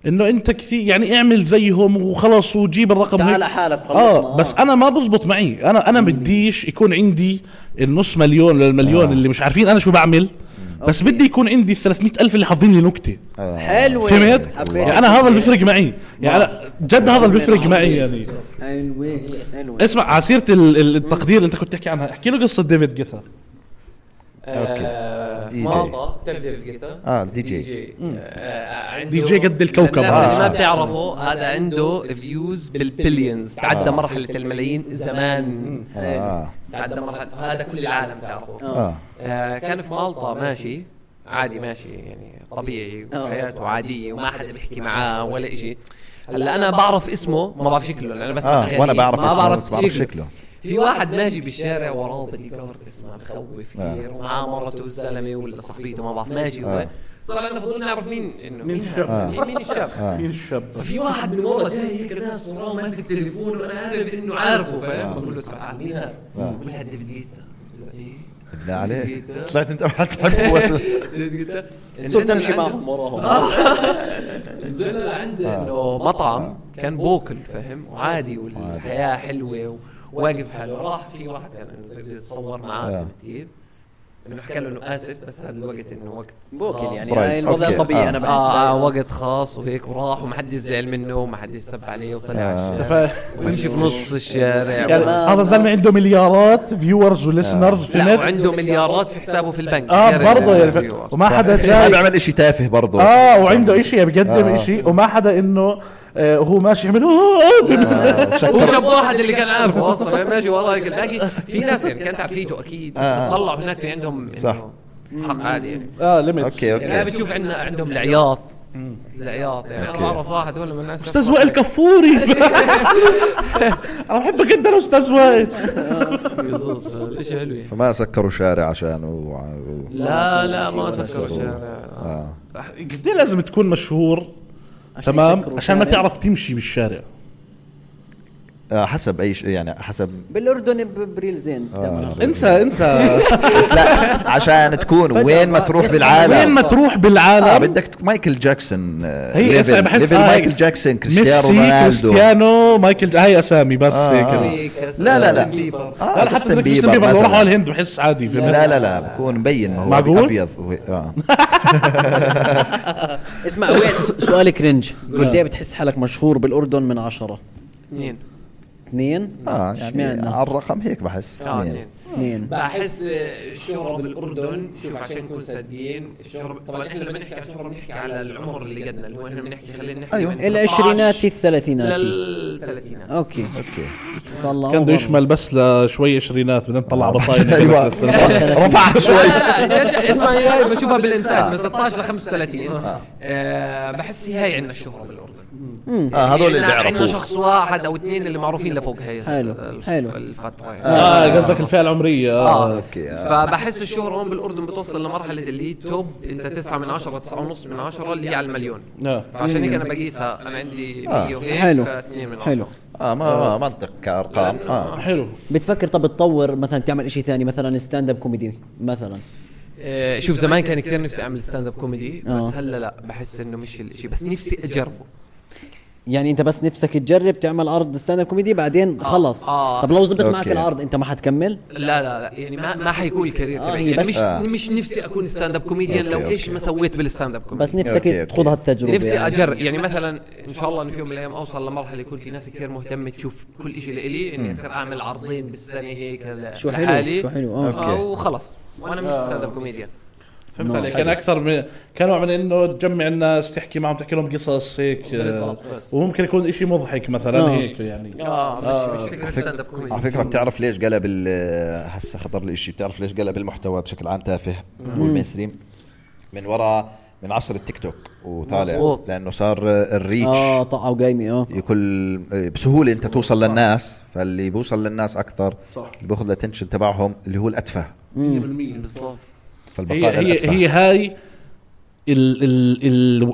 Speaker 1: انه انت كثير يعني اعمل زيهم وخلص وجيب الرقم
Speaker 2: تعال
Speaker 1: هيك.
Speaker 2: حالك خلصنا آه.
Speaker 1: اه بس انا ما بزبط معي انا انا بديش يكون عندي النص مليون للمليون
Speaker 2: آه.
Speaker 1: اللي مش عارفين انا شو بعمل بس بدي يكون عندي ال 300 ألف اللي حاطين لي نكته
Speaker 5: آه.
Speaker 2: حلو
Speaker 1: فهمت؟ يعني انا هذا اللي بيفرق معي يعني انا جد هذا اللي بيفرق معي يعني
Speaker 2: حلوة حلوة
Speaker 1: اسمع على سيره ال- ال- التقدير اللي انت كنت تحكي عنها احكي له قصه ديفيد جيتا
Speaker 5: دي
Speaker 6: دي
Speaker 5: جي.
Speaker 6: جي ماطا بتعرف الجيتار
Speaker 5: آه، الدي جي. آه.
Speaker 1: دي جي قد الكوكب
Speaker 6: الناس آه، اللي
Speaker 1: هذا.
Speaker 6: ما بتعرفه هذا عنده فيوز بالبليونز تعدى مرحله الملايين زمان
Speaker 5: آه.
Speaker 6: تعدى مرحله هذا كل العالم تعرفه
Speaker 5: آه.
Speaker 6: آه، كان في مالطا ماشي عادي ماشي يعني طبيعي وحياته عادية وما حدا بيحكي معاه ولا إشي هلا أنا بعرف اسمه ما بعرف شكله لأن أنا بس
Speaker 5: آه، وأنا بعرف
Speaker 6: يعني ما
Speaker 5: اسمه،
Speaker 6: بعرف
Speaker 5: بس بعرف شكله.
Speaker 6: في واحد ماشي بالشارع وراه بدي جارد اسمه بخوف كثير ومعاه مرته الزلمه ولا صاحبيته ما بعرف ماشي هو صار عندنا فضول نعرف مين انه مين
Speaker 1: الشاب؟
Speaker 6: هذا؟ إيه، مين مين الشاب
Speaker 1: مين الشاب
Speaker 6: ففي واحد من ورا جاي هيك ناس وراه ماسك تليفون وانا عارف انه عارفه فاهم بقول له اسمع مين هذا؟ بقول لها ديفيد جيتا قلت له ايه
Speaker 5: بالله عليك
Speaker 6: ديفيد جيتا.
Speaker 5: طلعت انت ما تحب وصل
Speaker 6: ديفيد جيتا
Speaker 2: صرت
Speaker 6: نزلنا
Speaker 2: امشي
Speaker 6: لعنده-
Speaker 2: معهم
Speaker 6: آه.
Speaker 2: وراهم آه.
Speaker 6: نزلنا لعند انه مطعم كان بوكل فاهم وعادي والحياه حلوه وواقف حاله راح في واحد كان انه زي بده يتصور معاه
Speaker 5: آه.
Speaker 6: فهمت كيف؟ انه حكى له انه اسف بس هذا الوقت انه وقت
Speaker 2: بوكل
Speaker 6: خاص.
Speaker 2: يعني
Speaker 5: طيب،
Speaker 2: هاي الوضع
Speaker 5: أوكي.
Speaker 2: طبيعي
Speaker 5: آه.
Speaker 2: انا بحس
Speaker 6: اه آه، وقت خاص وهيك وراح وما حد زعل منه وما حد سب عليه وطلع
Speaker 2: آه.
Speaker 6: على الشارع ويمشي في نص
Speaker 1: يعني
Speaker 6: الشارع
Speaker 1: هذا الزلمه عنده مليارات فيورز وليسنرز في
Speaker 6: لا
Speaker 1: نت
Speaker 6: وعنده مليارات في حسابه في البنك
Speaker 1: اه
Speaker 6: غير
Speaker 1: برضه يعني
Speaker 6: ال-
Speaker 1: ف- وما حدا
Speaker 5: ما
Speaker 1: جاي
Speaker 5: بيعمل اشي تافه برضه
Speaker 1: اه وعنده اشي بيقدم اشي وما حدا انه آه، هو ماشي يعمل آه، آه، فهمت؟
Speaker 6: هو شاب واحد اللي كان عارفه اصلا فاهم؟ ماشي وراه هيك الباقي في ناس يعني كانت عارفيته اكيد بس
Speaker 5: آه.
Speaker 6: بتطلع هناك في عندهم
Speaker 5: صح.
Speaker 6: إنه حق عادي يعني
Speaker 1: اه ليميتس
Speaker 5: اوكي
Speaker 6: يعني أنا
Speaker 5: اوكي
Speaker 6: بتشوف عندنا عندهم العياط العياط يعني انا
Speaker 5: أوكي.
Speaker 6: بعرف واحد ولا من الناس
Speaker 1: استاذ وائل كفوري انا بحبك جدا استاذ وائل
Speaker 6: بالضبط ليش حلو يعني.
Speaker 5: فما سكروا شارع عشان و... و...
Speaker 6: لا لا ما سكروا الشارع
Speaker 5: آه.
Speaker 1: قد إيه لازم تكون مشهور تمام
Speaker 2: يسكروا
Speaker 1: عشان ما
Speaker 2: الشارع.
Speaker 1: تعرف تمشي بالشارع
Speaker 5: آه حسب اي شيء يعني حسب
Speaker 2: بالاردن ب- بريلزين
Speaker 5: آه.
Speaker 2: بتعمل.
Speaker 1: انسى انسى
Speaker 5: بس لا عشان تكون وين ما تروح بالعالم
Speaker 1: وين ما تروح
Speaker 5: آه
Speaker 1: بالعالم
Speaker 5: بدك ت- مايكل جاكسون آه،
Speaker 1: هي
Speaker 5: ليفل-
Speaker 1: اسا بحس
Speaker 5: ليفل
Speaker 1: آه،
Speaker 5: مايكل جاكسون كريستيانو
Speaker 1: ميسي
Speaker 5: رونالدو
Speaker 1: كريستيانو مايكل هاي اسامي بس هيك
Speaker 5: لا، لا، لا. آه،
Speaker 1: لا حتى
Speaker 5: جاستن
Speaker 1: بدك
Speaker 5: بيبر
Speaker 1: جاستن بيبر لو
Speaker 5: مثلاً.
Speaker 1: راحوا على الهند بحس عادي فهمت؟
Speaker 5: لا لا لا بكون مبين ما هو
Speaker 1: معقول؟
Speaker 5: ابيض و... آه.
Speaker 2: اسمع ويس سؤال كرنج قد ايه بتحس حالك مشهور بالاردن من عشرة
Speaker 6: اثنين
Speaker 2: اثنين
Speaker 5: اه يعني
Speaker 2: اشمعنى؟
Speaker 5: على الرقم هيك بحس
Speaker 6: اه
Speaker 5: اثنين.
Speaker 6: اثنين
Speaker 2: اثنين
Speaker 6: بحس الشهرة بالأردن شوف عشان نكون صادقين الشهرة طبعا احنا لما نحكي عن الشهرة بنحكي على العمر اللي قدنا اللي هو احنا بنحكي خلينا نحكي
Speaker 5: أيوة.
Speaker 6: من 16
Speaker 2: العشرينات الثلاثينات
Speaker 6: للثلاثينات
Speaker 2: اوكي
Speaker 5: اوكي
Speaker 2: طلعوا
Speaker 1: كان بده
Speaker 2: برا.
Speaker 1: يشمل بس لشوي عشرينات بدنا نطلع بطاينه
Speaker 5: أيوة. رفعها
Speaker 6: لا
Speaker 5: شوي
Speaker 6: لا لا جد- جد- اسمع هي هاي بشوفها بالانسان من 16 ل 35 آه، بحس هي هاي عندنا الشهرة بالاردن
Speaker 5: اه هذول اللي
Speaker 6: عندنا- عندنا
Speaker 5: بيعرفوه
Speaker 6: شخص واحد او اثنين اللي معروفين لفوق هي
Speaker 2: حلو،
Speaker 6: الف-
Speaker 2: حلو. آه.
Speaker 6: الفترة يعني.
Speaker 1: اه قصدك الفئه العمريه
Speaker 6: آه.
Speaker 1: آه.
Speaker 5: اوكي آه.
Speaker 6: فبحس الشهرة هون بالاردن بتوصل لمرحله اللي هي توب انت 9 من 10 9 ونص من 10 اللي هي على المليون
Speaker 1: آه.
Speaker 6: فعشان هيك انا بقيسها انا عندي
Speaker 5: آه.
Speaker 6: 100 وهيك
Speaker 2: حلو.
Speaker 6: فاثنين من 10
Speaker 2: حلو.
Speaker 5: اه ما ما منطق كارقام اه
Speaker 1: آه، حلو
Speaker 2: بتفكر طب تطور مثلا تعمل شيء ثاني مثلا ستاند اب كوميدي مثلا
Speaker 6: آه، شوف زمان كان كثير نفسي اعمل ستاند اب كوميدي بس
Speaker 2: آه.
Speaker 6: هلا لا بحس انه مش الشيء بس نفسي اجربه
Speaker 2: يعني انت بس نفسك تجرب تعمل عرض ستاند اب كوميدي بعدين خلص
Speaker 6: آه.
Speaker 2: طب لو زبط معك
Speaker 5: أوكي.
Speaker 2: العرض انت ما حتكمل
Speaker 6: لا لا لا يعني ما ما حيكون الكارير
Speaker 2: آه،
Speaker 6: تبعي
Speaker 2: هي
Speaker 6: يعني
Speaker 2: بس-
Speaker 6: مش
Speaker 5: آه.
Speaker 6: مش نفسي اكون ستاند اب كوميديان
Speaker 5: أوكي،
Speaker 6: لو ايش
Speaker 5: أوكي.
Speaker 6: ما سويت بالستاند اب كوميدي
Speaker 2: بس نفسك
Speaker 5: أوكي، أوكي.
Speaker 2: تخوض هالتجربه
Speaker 6: نفسي
Speaker 2: يعني.
Speaker 6: اجرب يعني مثلا ان شاء الله انه في يوم من الايام اوصل لمرحله يكون في ناس كثير مهتمه تشوف كل شيء لإلي اني اصير اعمل عرضين بالسنه هيك ل-
Speaker 2: شو حلو،
Speaker 6: لحالي
Speaker 2: شو حلو، آه.
Speaker 6: آه،
Speaker 5: أوكي.
Speaker 6: وخلص وانا مش ستاند اب كوميديان
Speaker 1: فهمت علي كان اكثر من كان نوع من انه تجمع الناس تحكي معهم تحكي لهم قصص هيك آه،
Speaker 6: بالضبط، بس.
Speaker 1: وممكن يكون إشي مضحك مثلا
Speaker 2: آه.
Speaker 1: هيك يعني
Speaker 6: اه مش مش فكره ستاند اب كوميديان
Speaker 5: على فكره بتعرف ليش قلب ال- هسه خطر لي شيء بتعرف ليش قلب المحتوى بشكل عام تافه والمينستريم من وراء من عصر التيك توك وطالع
Speaker 6: مظبوط.
Speaker 5: لانه صار الريتش
Speaker 2: اه طقعوا قايمه اه
Speaker 5: يكل بسهوله انت توصل للناس فاللي بيوصل للناس اكثر صح. اللي بياخذ الاتنشن تبعهم اللي هو الاتفه
Speaker 6: بالضبط
Speaker 1: هي
Speaker 5: فالبقاء
Speaker 1: هي
Speaker 5: للاتفه
Speaker 1: هي هاي ال ال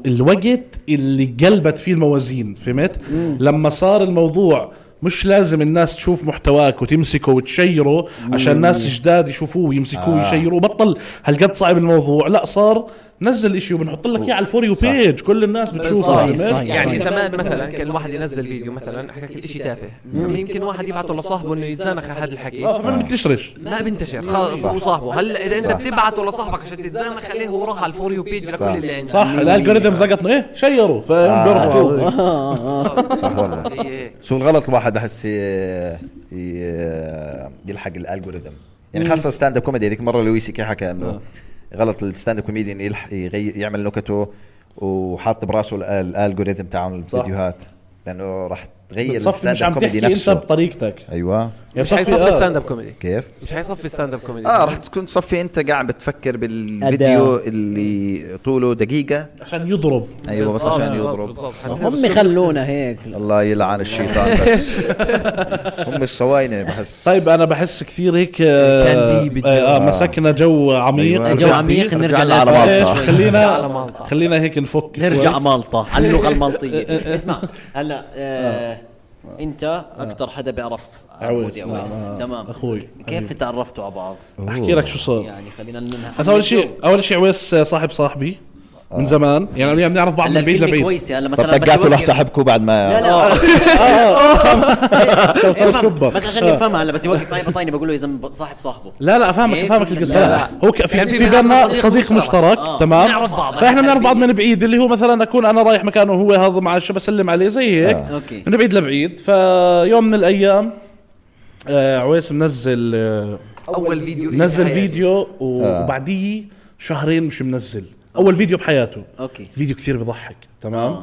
Speaker 1: ال الوقت اللي قلبت فيه الموازين فهمت؟ لما صار الموضوع مش لازم الناس تشوف محتواك وتمسكه وتشيره عشان ناس جداد يشوفوه ويمسكوه ويشيروه بطل هالقد صعب الموضوع لا صار نزل اشي وبنحط لك اياه على الفور يو بيج كل الناس بتشوفه
Speaker 2: صح،
Speaker 1: فهمت؟
Speaker 2: صح.
Speaker 6: يعني
Speaker 2: صحيح.
Speaker 6: زمان مثلا كان الواحد ينزل فيديو مثلا حكى لك شيء تافه يمكن واحد يبعته لصاحبه انه يتزانخ على هذا
Speaker 2: آه،
Speaker 6: الحكي
Speaker 1: ما بتشرش
Speaker 6: ما بنتشر خلص هو صاحبه هلا اذا انت بتبعته لصاحبك عشان تتزانخ عليه هو راح على الفور يو بيج لكل اللي عنده
Speaker 1: صح
Speaker 5: يعني
Speaker 1: الالجوريثم زقطنا ايه
Speaker 5: آه،
Speaker 1: شيروا فاهم بيرفعوا
Speaker 5: صح ولا
Speaker 6: هي- هي-
Speaker 5: شو الغلط الواحد بحس ي- ي- يلحق الالجوريثم يعني خاصه ستاند اب كوميدي هذيك مره لويس كي حكى
Speaker 1: آه.
Speaker 5: انه غلط الستاند اب كوميديان يلح- يغي- يعمل نكته وحاط براسه ال- الالجوريثم تاع الفيديوهات لانه راح تغير
Speaker 1: بتصفي مش عم
Speaker 5: الستاند كوميدي
Speaker 1: تحكي انت
Speaker 5: نفسه
Speaker 1: بطريقتك
Speaker 5: ايوه
Speaker 1: يعني
Speaker 6: مش
Speaker 1: بصفي
Speaker 6: حيصفي
Speaker 1: آه.
Speaker 6: ستاند اب كوميدي
Speaker 5: كيف؟
Speaker 6: مش حيصفي ستاند اب كوميدي
Speaker 5: اه رح تكون صفي انت قاعد بتفكر بالفيديو اللي طوله دقيقه
Speaker 1: عشان يضرب
Speaker 5: ايوه بس
Speaker 1: آه.
Speaker 5: عشان يضرب
Speaker 2: هم خلونا هيك
Speaker 5: الله يلعن الشيطان بس هم الصواينه بحس
Speaker 1: طيب انا بحس كثير هيك آه،
Speaker 6: كان دي بالجو.
Speaker 1: آه، آه، مسكنا جو عميق
Speaker 5: أيوة.
Speaker 2: جو
Speaker 1: رجعتي.
Speaker 2: عميق نرجع
Speaker 5: رجعنا على
Speaker 2: للفرق.
Speaker 5: بعض.
Speaker 1: إيش،
Speaker 6: على
Speaker 1: خلينا
Speaker 6: مالطا.
Speaker 1: خلينا هيك نفك شوي. إيه،
Speaker 2: نرجع مالطا على اللغه المالطيه
Speaker 3: اسمع هلا آه، انت اكثر حدا بيعرف عمودي عويس
Speaker 1: آه. نعم، آه.
Speaker 3: تمام
Speaker 1: أخوي.
Speaker 3: كيف تعرفتوا على بعض؟
Speaker 1: احكي لك شو صار
Speaker 3: يعني خلينا ننهى
Speaker 1: بس اول شيء اول شيء عويس صاحب صاحبي من زمان يعني يعني بنعرف بعض
Speaker 3: هلا
Speaker 1: من بعيد
Speaker 3: الكلمة
Speaker 1: لبعيد
Speaker 3: كويسة هلا
Speaker 5: طب
Speaker 3: مثلا بس
Speaker 5: طقعتوا
Speaker 3: يوقف-
Speaker 5: لح صاحبكم بعد
Speaker 3: لا
Speaker 5: ما
Speaker 3: لا
Speaker 1: صار شبه آه.
Speaker 3: افهم. بس عشان يفهمها هلا بس يوقف معي بطيني بقول له يا زلمه صاحب صاحبه
Speaker 1: لا لا افهمك
Speaker 3: هيك
Speaker 1: افهمك
Speaker 3: ولا
Speaker 1: القصه
Speaker 3: إيه، لا؟
Speaker 1: لا هو ك- في
Speaker 6: يعني في
Speaker 1: في بيننا
Speaker 6: بيننا
Speaker 1: صديق
Speaker 6: صديق
Speaker 1: مشترك
Speaker 3: آه.
Speaker 1: تمام
Speaker 3: نعرف بعض.
Speaker 1: فاحنا بنعرف بعض
Speaker 3: عارفين.
Speaker 1: من بعيد اللي هو مثلا اكون انا رايح مكانه وهو هذا مع الشباب اسلم عليه زي هيك
Speaker 3: آه. أوكي.
Speaker 1: من بعيد لبعيد فيوم من الايام آه، عويس منزل آه،
Speaker 6: اول فيديو لي
Speaker 1: نزل
Speaker 6: بحياتي.
Speaker 1: فيديو
Speaker 3: آه.
Speaker 1: و- وبعديه شهرين مش منزل اول فيديو بحياته
Speaker 3: أوكي. آه.
Speaker 1: فيديو كثير بضحك تمام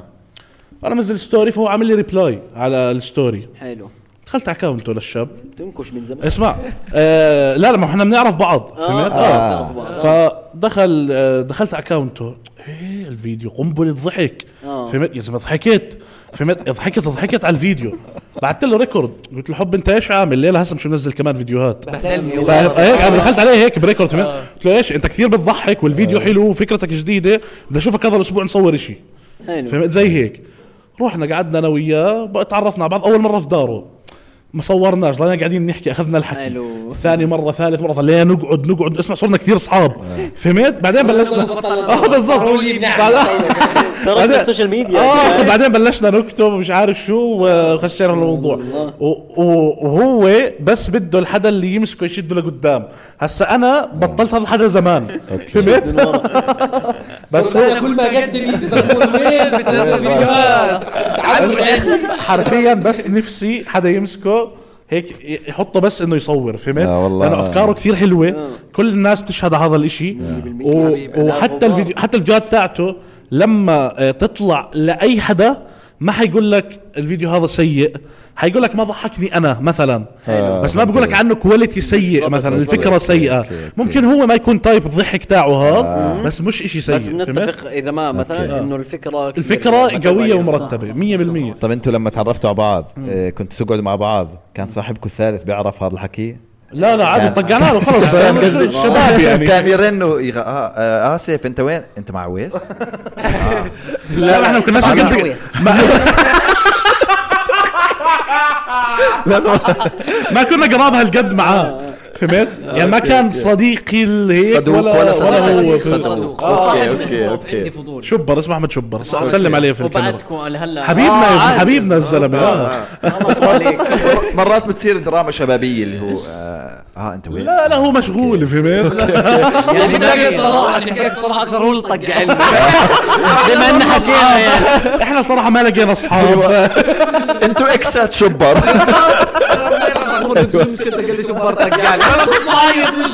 Speaker 1: انا منزل ستوري فهو عامل لي ريبلاي على الستوري
Speaker 3: حلو
Speaker 1: دخلت على اكونته للشاب
Speaker 3: تنكش من زمان
Speaker 1: اسمع آه لا لا ما احنا بنعرف بعض فهمت
Speaker 3: آه.
Speaker 1: فدخل آه دخلت على اكونته ايه الفيديو قنبله ضحك
Speaker 3: آه.
Speaker 1: فهمت يا زلمه ضحكت فهمت ضحكت ضحكت على الفيديو بعثت له ريكورد قلت له حب انت ايش عامل ليه هسه مش منزل كمان فيديوهات
Speaker 6: بهتمني
Speaker 1: فاهم هيك
Speaker 3: آه.
Speaker 1: انا دخلت عليه هيك بريكورد فهمت قلت له ايش انت كثير بتضحك والفيديو
Speaker 3: آه.
Speaker 1: حلو وفكرتك جديده بدي اشوفك هذا الاسبوع نصور شيء
Speaker 2: حلو
Speaker 1: فهمت زي هيك رحنا قعدنا انا وياه بقى تعرفنا على بعض اول مره في داره ما صورناش ضلينا قاعدين نحكي اخذنا الحكي
Speaker 2: حلو.
Speaker 1: ثاني مره ثالث مره ضلينا نقعد نقعد اسمع صرنا كثير اصحاب فهمت بعدين بلشنا اه بالضبط
Speaker 6: هو اللي يمنعنا
Speaker 1: بعد-
Speaker 2: تركنا السوشيال ميديا
Speaker 1: اه بعدين بلشنا نكتب مش عارف شو وخشينا في الموضوع و- و- وهو بس بده الحدا اللي يمسكه يشده لقدام هسا انا بطلت هذا الحدا زمان فهمت بس هو
Speaker 6: انا كل ما قدم يجي زبون وين بتنزل فيديوهات تعالوا
Speaker 1: حرفيا بس نفسي حدا يمسكه هيك يحطه بس انه يصور فهمت؟
Speaker 5: آه والله.
Speaker 1: لانه افكاره كثير حلوه كل الناس بتشهد على هذا الاشي و... وحتى الفيديو حتى الفيديوهات تاعته لما آه، تطلع لاي حدا ما حيقول لك الفيديو هذا سيء حيقول لك ما ضحكني انا مثلا بس ما بقول لك عنه كواليتي سيء مثلا الفكره سيئه ممكن هو ما يكون تايب الضحك تاعه هذا بس مش اشي سيء
Speaker 2: بس
Speaker 1: فهمت؟ آه.
Speaker 2: بنتفق اذا ما مثلا انه الفكره كثير
Speaker 1: الفكره
Speaker 2: مرتبة
Speaker 1: قويه
Speaker 2: عليها.
Speaker 1: ومرتبه 100%
Speaker 5: طب انتوا لما تعرفتوا على بعض آه، كنتوا تقعدوا مع بعض كان صاحبكم الثالث بيعرف هذا الحكي
Speaker 1: لا لا عادي طقعنا له خلص فاهم قصدي الشباب يعني
Speaker 5: كان يرنوا يغ... آه آه، اسف انت وين انت مع عويس
Speaker 1: لا ما احنا ما كناش
Speaker 3: طبعاً
Speaker 1: نقدر
Speaker 3: آه. كويس.
Speaker 1: ما لا، لا، ما كنا قراب هالقد معاه فهمت؟ يعني ما كان صديقي اللي هيك
Speaker 5: صدوق
Speaker 1: ولا
Speaker 5: ولا
Speaker 3: آه.
Speaker 1: ولا
Speaker 5: صديق.
Speaker 1: هو
Speaker 5: صدوق.
Speaker 6: اوكي
Speaker 5: أوكي، أوكي.
Speaker 6: عندي فضول
Speaker 1: شبر اسمه احمد شبر سلم عليه في الكاميرا
Speaker 3: وبعدكم هلا
Speaker 1: حبيبنا
Speaker 2: آه،
Speaker 1: يا زلمه حبيبنا الزلمه آه.
Speaker 5: مرات بتصير دراما شبابيه اللي هو اه, آه انت وين
Speaker 1: لا لا هو مشغول فهمت؟
Speaker 6: يعني نحكي الصراحه نحكي الصراحه اكثر هو اللي طق علمي
Speaker 2: بما ان حكينا يعني
Speaker 1: احنا صراحه ما لقينا اصحاب
Speaker 5: انتوا اكسات شبر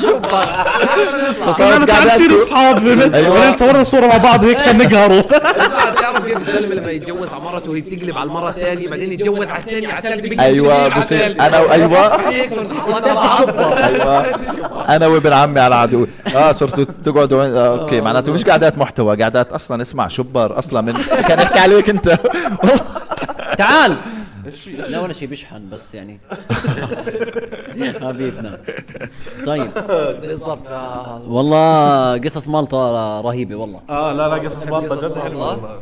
Speaker 5: آه،
Speaker 1: صرنا تعال نصير
Speaker 5: قعداتكم.
Speaker 1: اصحاب فهمت؟ بعدين صورنا صوره مع بعض هيك عشان نقهروا
Speaker 6: تعرف كيف الزلمه لما يتجوز على مرته وهي بتقلب على المره الثانيه بعدين يتجوز على الثانيه على الثالثه بيقلب
Speaker 5: ايوه
Speaker 6: على
Speaker 5: بصير أيوة.
Speaker 6: الثالث.
Speaker 5: انا وايوه
Speaker 6: بعدين يكسر الحضانة مع بعض.
Speaker 5: ايوه انا وابن عمي على عدو اه صرتوا تقعدوا وين آه اوكي معناته مش قعدات محتوى قعدات اصلا اسمع شبر اصلا من كان يحكي عليك انت
Speaker 2: تعال
Speaker 3: لا ولا شيء بيشحن بس يعني حبيبنا طيب
Speaker 6: بالضبط آه.
Speaker 3: والله قصص مالطا رهيبه والله
Speaker 1: اه لا لا قصص
Speaker 6: قصص والله.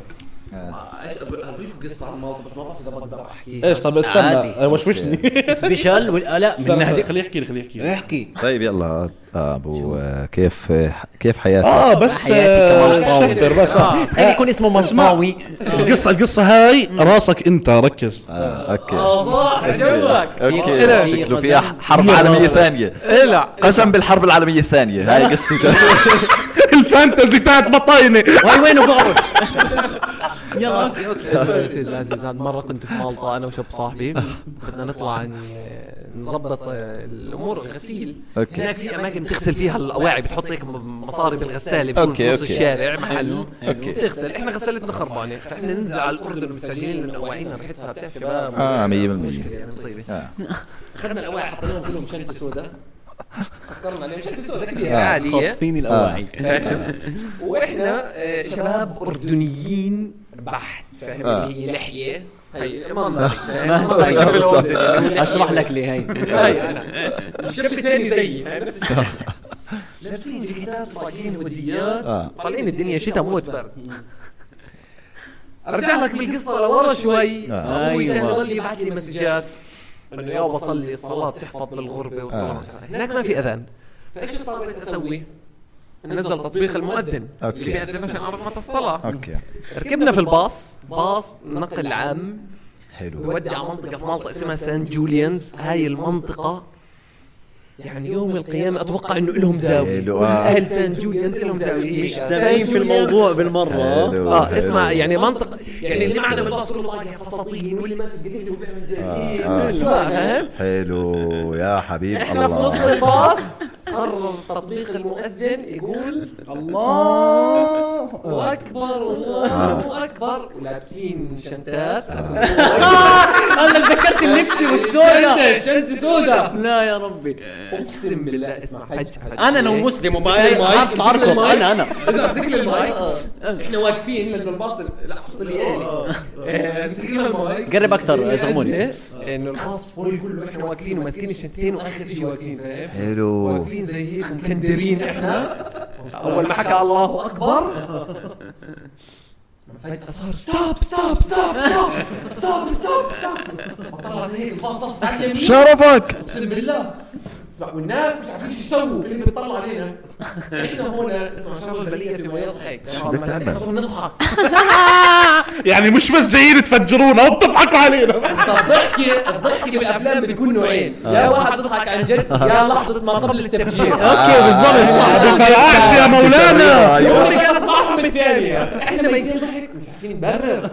Speaker 6: آه، إيش أقول- اقول لكم قصه عن مالطا بس ما بعرف اذا بقدر احكيها
Speaker 1: ايش طب استنى
Speaker 3: عادي.
Speaker 1: وشوشني
Speaker 3: سبيشال ولا لا من
Speaker 1: استنى،
Speaker 3: هذه
Speaker 1: خليه يحكي لي خليه يحكي لي.
Speaker 3: احكي
Speaker 5: طيب يلا آه ابو آه، كيف آه، كيف حياتك
Speaker 1: اه بس
Speaker 3: حياتي
Speaker 1: آه،
Speaker 3: كمان.
Speaker 1: شفر بس آه.
Speaker 2: خلي يكون اسمه ملطاوي
Speaker 1: القصه القصه هاي راسك انت ركز
Speaker 5: آه، اوكي
Speaker 6: اه صح جوك
Speaker 5: اوكي شكله فيها حرب عالميه ثانيه
Speaker 6: لا
Speaker 5: قسم بالحرب العالميه الثانيه هاي قصه
Speaker 1: الفانتزي تاعت بطاينه
Speaker 2: واي وينه بقعد
Speaker 6: اسمع يا سيد العزيز هذا مره كنت في مالطا انا وشاب صاحبي بدنا نطلع عن نظبط آه، الامور الغسيل
Speaker 4: أوكي.
Speaker 6: هناك في اماكن تغسل فيها الاواعي بتحط هيك م- مصاري بالغساله بتكون
Speaker 4: أوكي،
Speaker 6: في نص
Speaker 4: أوكي.
Speaker 6: الشارع محل
Speaker 4: أوكي.
Speaker 6: بتغسل احنا غسلتنا خربانه فاحنا ننزل على الاردن مستعجلين لان اواعينا ريحتها بتعرف شباب
Speaker 5: آه، 100%.
Speaker 6: مشكله يعني مصيبه
Speaker 5: آه.
Speaker 6: اخذنا الاواعي حطيناهم كلهم شنطه سوداء سكرنا عليهم شنطه سوداء كبيره
Speaker 5: آه،
Speaker 6: عاديه
Speaker 2: خاطفيني الاواعي
Speaker 6: واحنا آه، شباب اردنيين بحت فاهم
Speaker 5: آه.
Speaker 6: اللي هي طيب، لحيه هي منظري
Speaker 2: ما-
Speaker 6: منظري شباب الأردن، اللي هو
Speaker 2: اشرح
Speaker 6: لحية.
Speaker 2: لك ليه هي
Speaker 6: هاي انا الشاب الثاني زيي هاي نفس الشيء لابسين جاكيتات وطاقين وديات طالعين الدنيا شتاء موت برد ارجع لك بالقصه لورا شوي آه. ابوي كان
Speaker 2: أيوة.
Speaker 6: يضل يبعث لي مسجات انه يا بصلي الصلاه بتحفظ بالغربه والصلاه آه. هناك ما في اذان فايش اضطريت اسوي؟ نزل تطبيق المؤذن
Speaker 5: أوكي.
Speaker 6: اللي بيأذن عشان اقامه الصلاه
Speaker 5: اوكي
Speaker 6: ركبنا في الباص باص نقل عام
Speaker 5: حلو
Speaker 6: بودع منطقة في مالطا اسمها سان جوليانز هاي المنطقة يعني يوم القيامة أتوقع إنه إلهم زاوية
Speaker 5: حلو، آه.
Speaker 6: أهل سان جوليانز إلهم زاوية
Speaker 2: مش
Speaker 6: سان
Speaker 2: سامعين في
Speaker 6: جوليانز-
Speaker 2: الموضوع بالمره
Speaker 5: حلو،
Speaker 6: اه
Speaker 5: حلو.
Speaker 6: اسمع يعني منطقة يعني اللي معنا بالباص كله طاقة فساتين واللي ماسك قديم وبيعمل زي إيه، فاهم
Speaker 5: حلو يا حبيب
Speaker 6: احنا في نص
Speaker 5: الله
Speaker 6: الباص قرر تطبيق المؤذن يقول
Speaker 1: الله
Speaker 6: الله اكبر الله اكبر ولابسين شنتات
Speaker 2: انا ذكرت اللبسي والسودا
Speaker 6: شنتة شنتة سوداء
Speaker 2: لا يا ربي
Speaker 6: اقسم بالله اسمع فجأة
Speaker 2: انا
Speaker 6: إيه.
Speaker 2: لو مسلم وبايع
Speaker 6: حاط
Speaker 2: حاط اركض
Speaker 6: إيه.
Speaker 2: انا انا
Speaker 6: اذا مسك لي المايك احنا واقفين لانه الباص لا حط لي اياي مسك لنا المايك
Speaker 2: قرب أكتر،
Speaker 6: إيه،
Speaker 2: زغموني.
Speaker 6: أزمة، انه الباص فول كله احنا واقفين وماسكين الشنطتين واخر شيء واقفين فاهم
Speaker 5: حلو
Speaker 6: واقفين زي هيك مكندرين احنا اول ما حكى الله اكبر فجأة صار ستوب ستوب ستوب ستوب ستوب ستوب ستوب طلع زي هيك الباص صف على اليمين
Speaker 5: شرفك
Speaker 6: اقسم بالله اسمع والناس مش عارفين شو يسووا اللي بتطلع علينا احنا هون اسمع ان شاء الله البليه ويضحك شو
Speaker 5: بدك تعمل؟
Speaker 6: نضحك
Speaker 1: يعني مش بس جايين تفجرونا وبتضحكوا علينا
Speaker 6: بس الضحكه الضحكه بالافلام بتكون نوعين
Speaker 5: آه.
Speaker 6: يا واحد يضحك عن جد يا لحظه ما قبل التفجير
Speaker 2: اوكي بالضبط
Speaker 5: آه.
Speaker 6: آه.
Speaker 2: صح
Speaker 1: فلاش يا مولانا
Speaker 5: أيوة.
Speaker 6: هون كانت معهم بالثانية بس احنا ميتين ضحك مش عارفين نبرر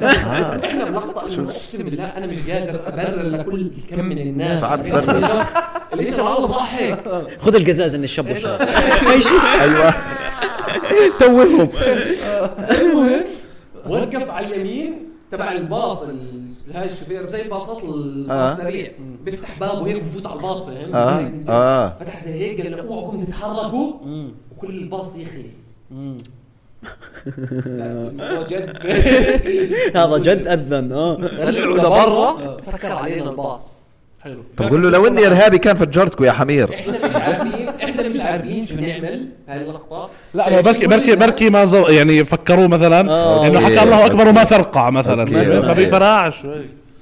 Speaker 6: احنا بلقطة انه اقسم بالله انا مش قادر ابرر لكل كم من الناس يعني
Speaker 5: ساعات برر.
Speaker 6: ليش انا والله ضحك
Speaker 2: خذ القزاز من الشب والشاب.
Speaker 5: ايوه
Speaker 2: توهم
Speaker 6: المهم وقف على اليمين تبع الباص ال- هاي الشوفير زي باصات ال-
Speaker 5: آه.
Speaker 6: السريع بيفتح بابه هيك بفوت على الباص فاهم
Speaker 5: آه،
Speaker 6: هيك.
Speaker 5: آه.
Speaker 6: فتح زي هيك قال لنا اوعكم تتحركوا وكل الباص يخلي لا، الموضوع جد
Speaker 2: هذا جد اذن
Speaker 5: آه.
Speaker 2: اه
Speaker 6: طلعوا لبرا سكر علينا الباص حلو
Speaker 5: طب قول له لو اني ارهابي كان فجرتكم يا حمير
Speaker 6: احنا مش عارفين احنا مش عارفين شو نعمل هاي اللقطه
Speaker 1: لا ما بركي بركي بركي ما زر يعني فكروا مثلا
Speaker 2: آه.
Speaker 1: انه حكى
Speaker 5: أوكي.
Speaker 1: الله اكبر وما ثرقع مثلا
Speaker 5: أوكي.
Speaker 1: ما- ما
Speaker 5: أوكي.
Speaker 1: بيفرقعش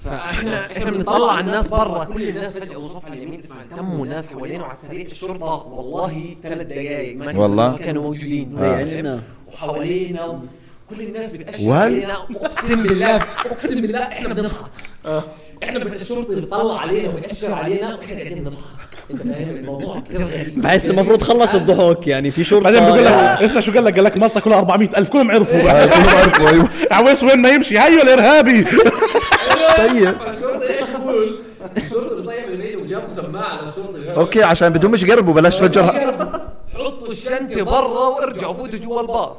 Speaker 6: فاحنا احنا بنطلع على الناس برا كل الناس فجاه وصف على اليمين اسمع تموا ناس حوالينا وعلى السريع الشرطه والله ثلاث دقائق ما كانوا-
Speaker 5: والله؟
Speaker 6: ما كانوا موجودين
Speaker 2: زي عندنا.
Speaker 6: وحوالينا و- كل الناس بتأشر
Speaker 5: وال-
Speaker 6: علينا اقسم بالله اقسم بالله احنا بنضحك احنا بت- الشرطي بيطلع علينا وبيأشر علينا واحنا قاعدين نضحك انت فاهم الموضوع كثير غريب
Speaker 2: بحس المفروض خلص الضحوك يعني في شرطه
Speaker 1: بعدين بقول
Speaker 5: آه،
Speaker 2: يعني.
Speaker 1: لك لسه شو قال لك قال لك مالطا كلها 400 الف كلهم عرفوا
Speaker 5: كلهم عرفوا ايوه
Speaker 1: عويس وين ما يمشي هيو الارهابي
Speaker 5: طيب
Speaker 6: الشرطي ايش بقول؟ الشرطي بصيح من بعيد وجاب سماعه للشرطي
Speaker 5: اوكي عشان بدهم مش يقربوا بلاش تفجرها
Speaker 6: حطوا الشنطه برا وارجعوا فوتوا جوا الباص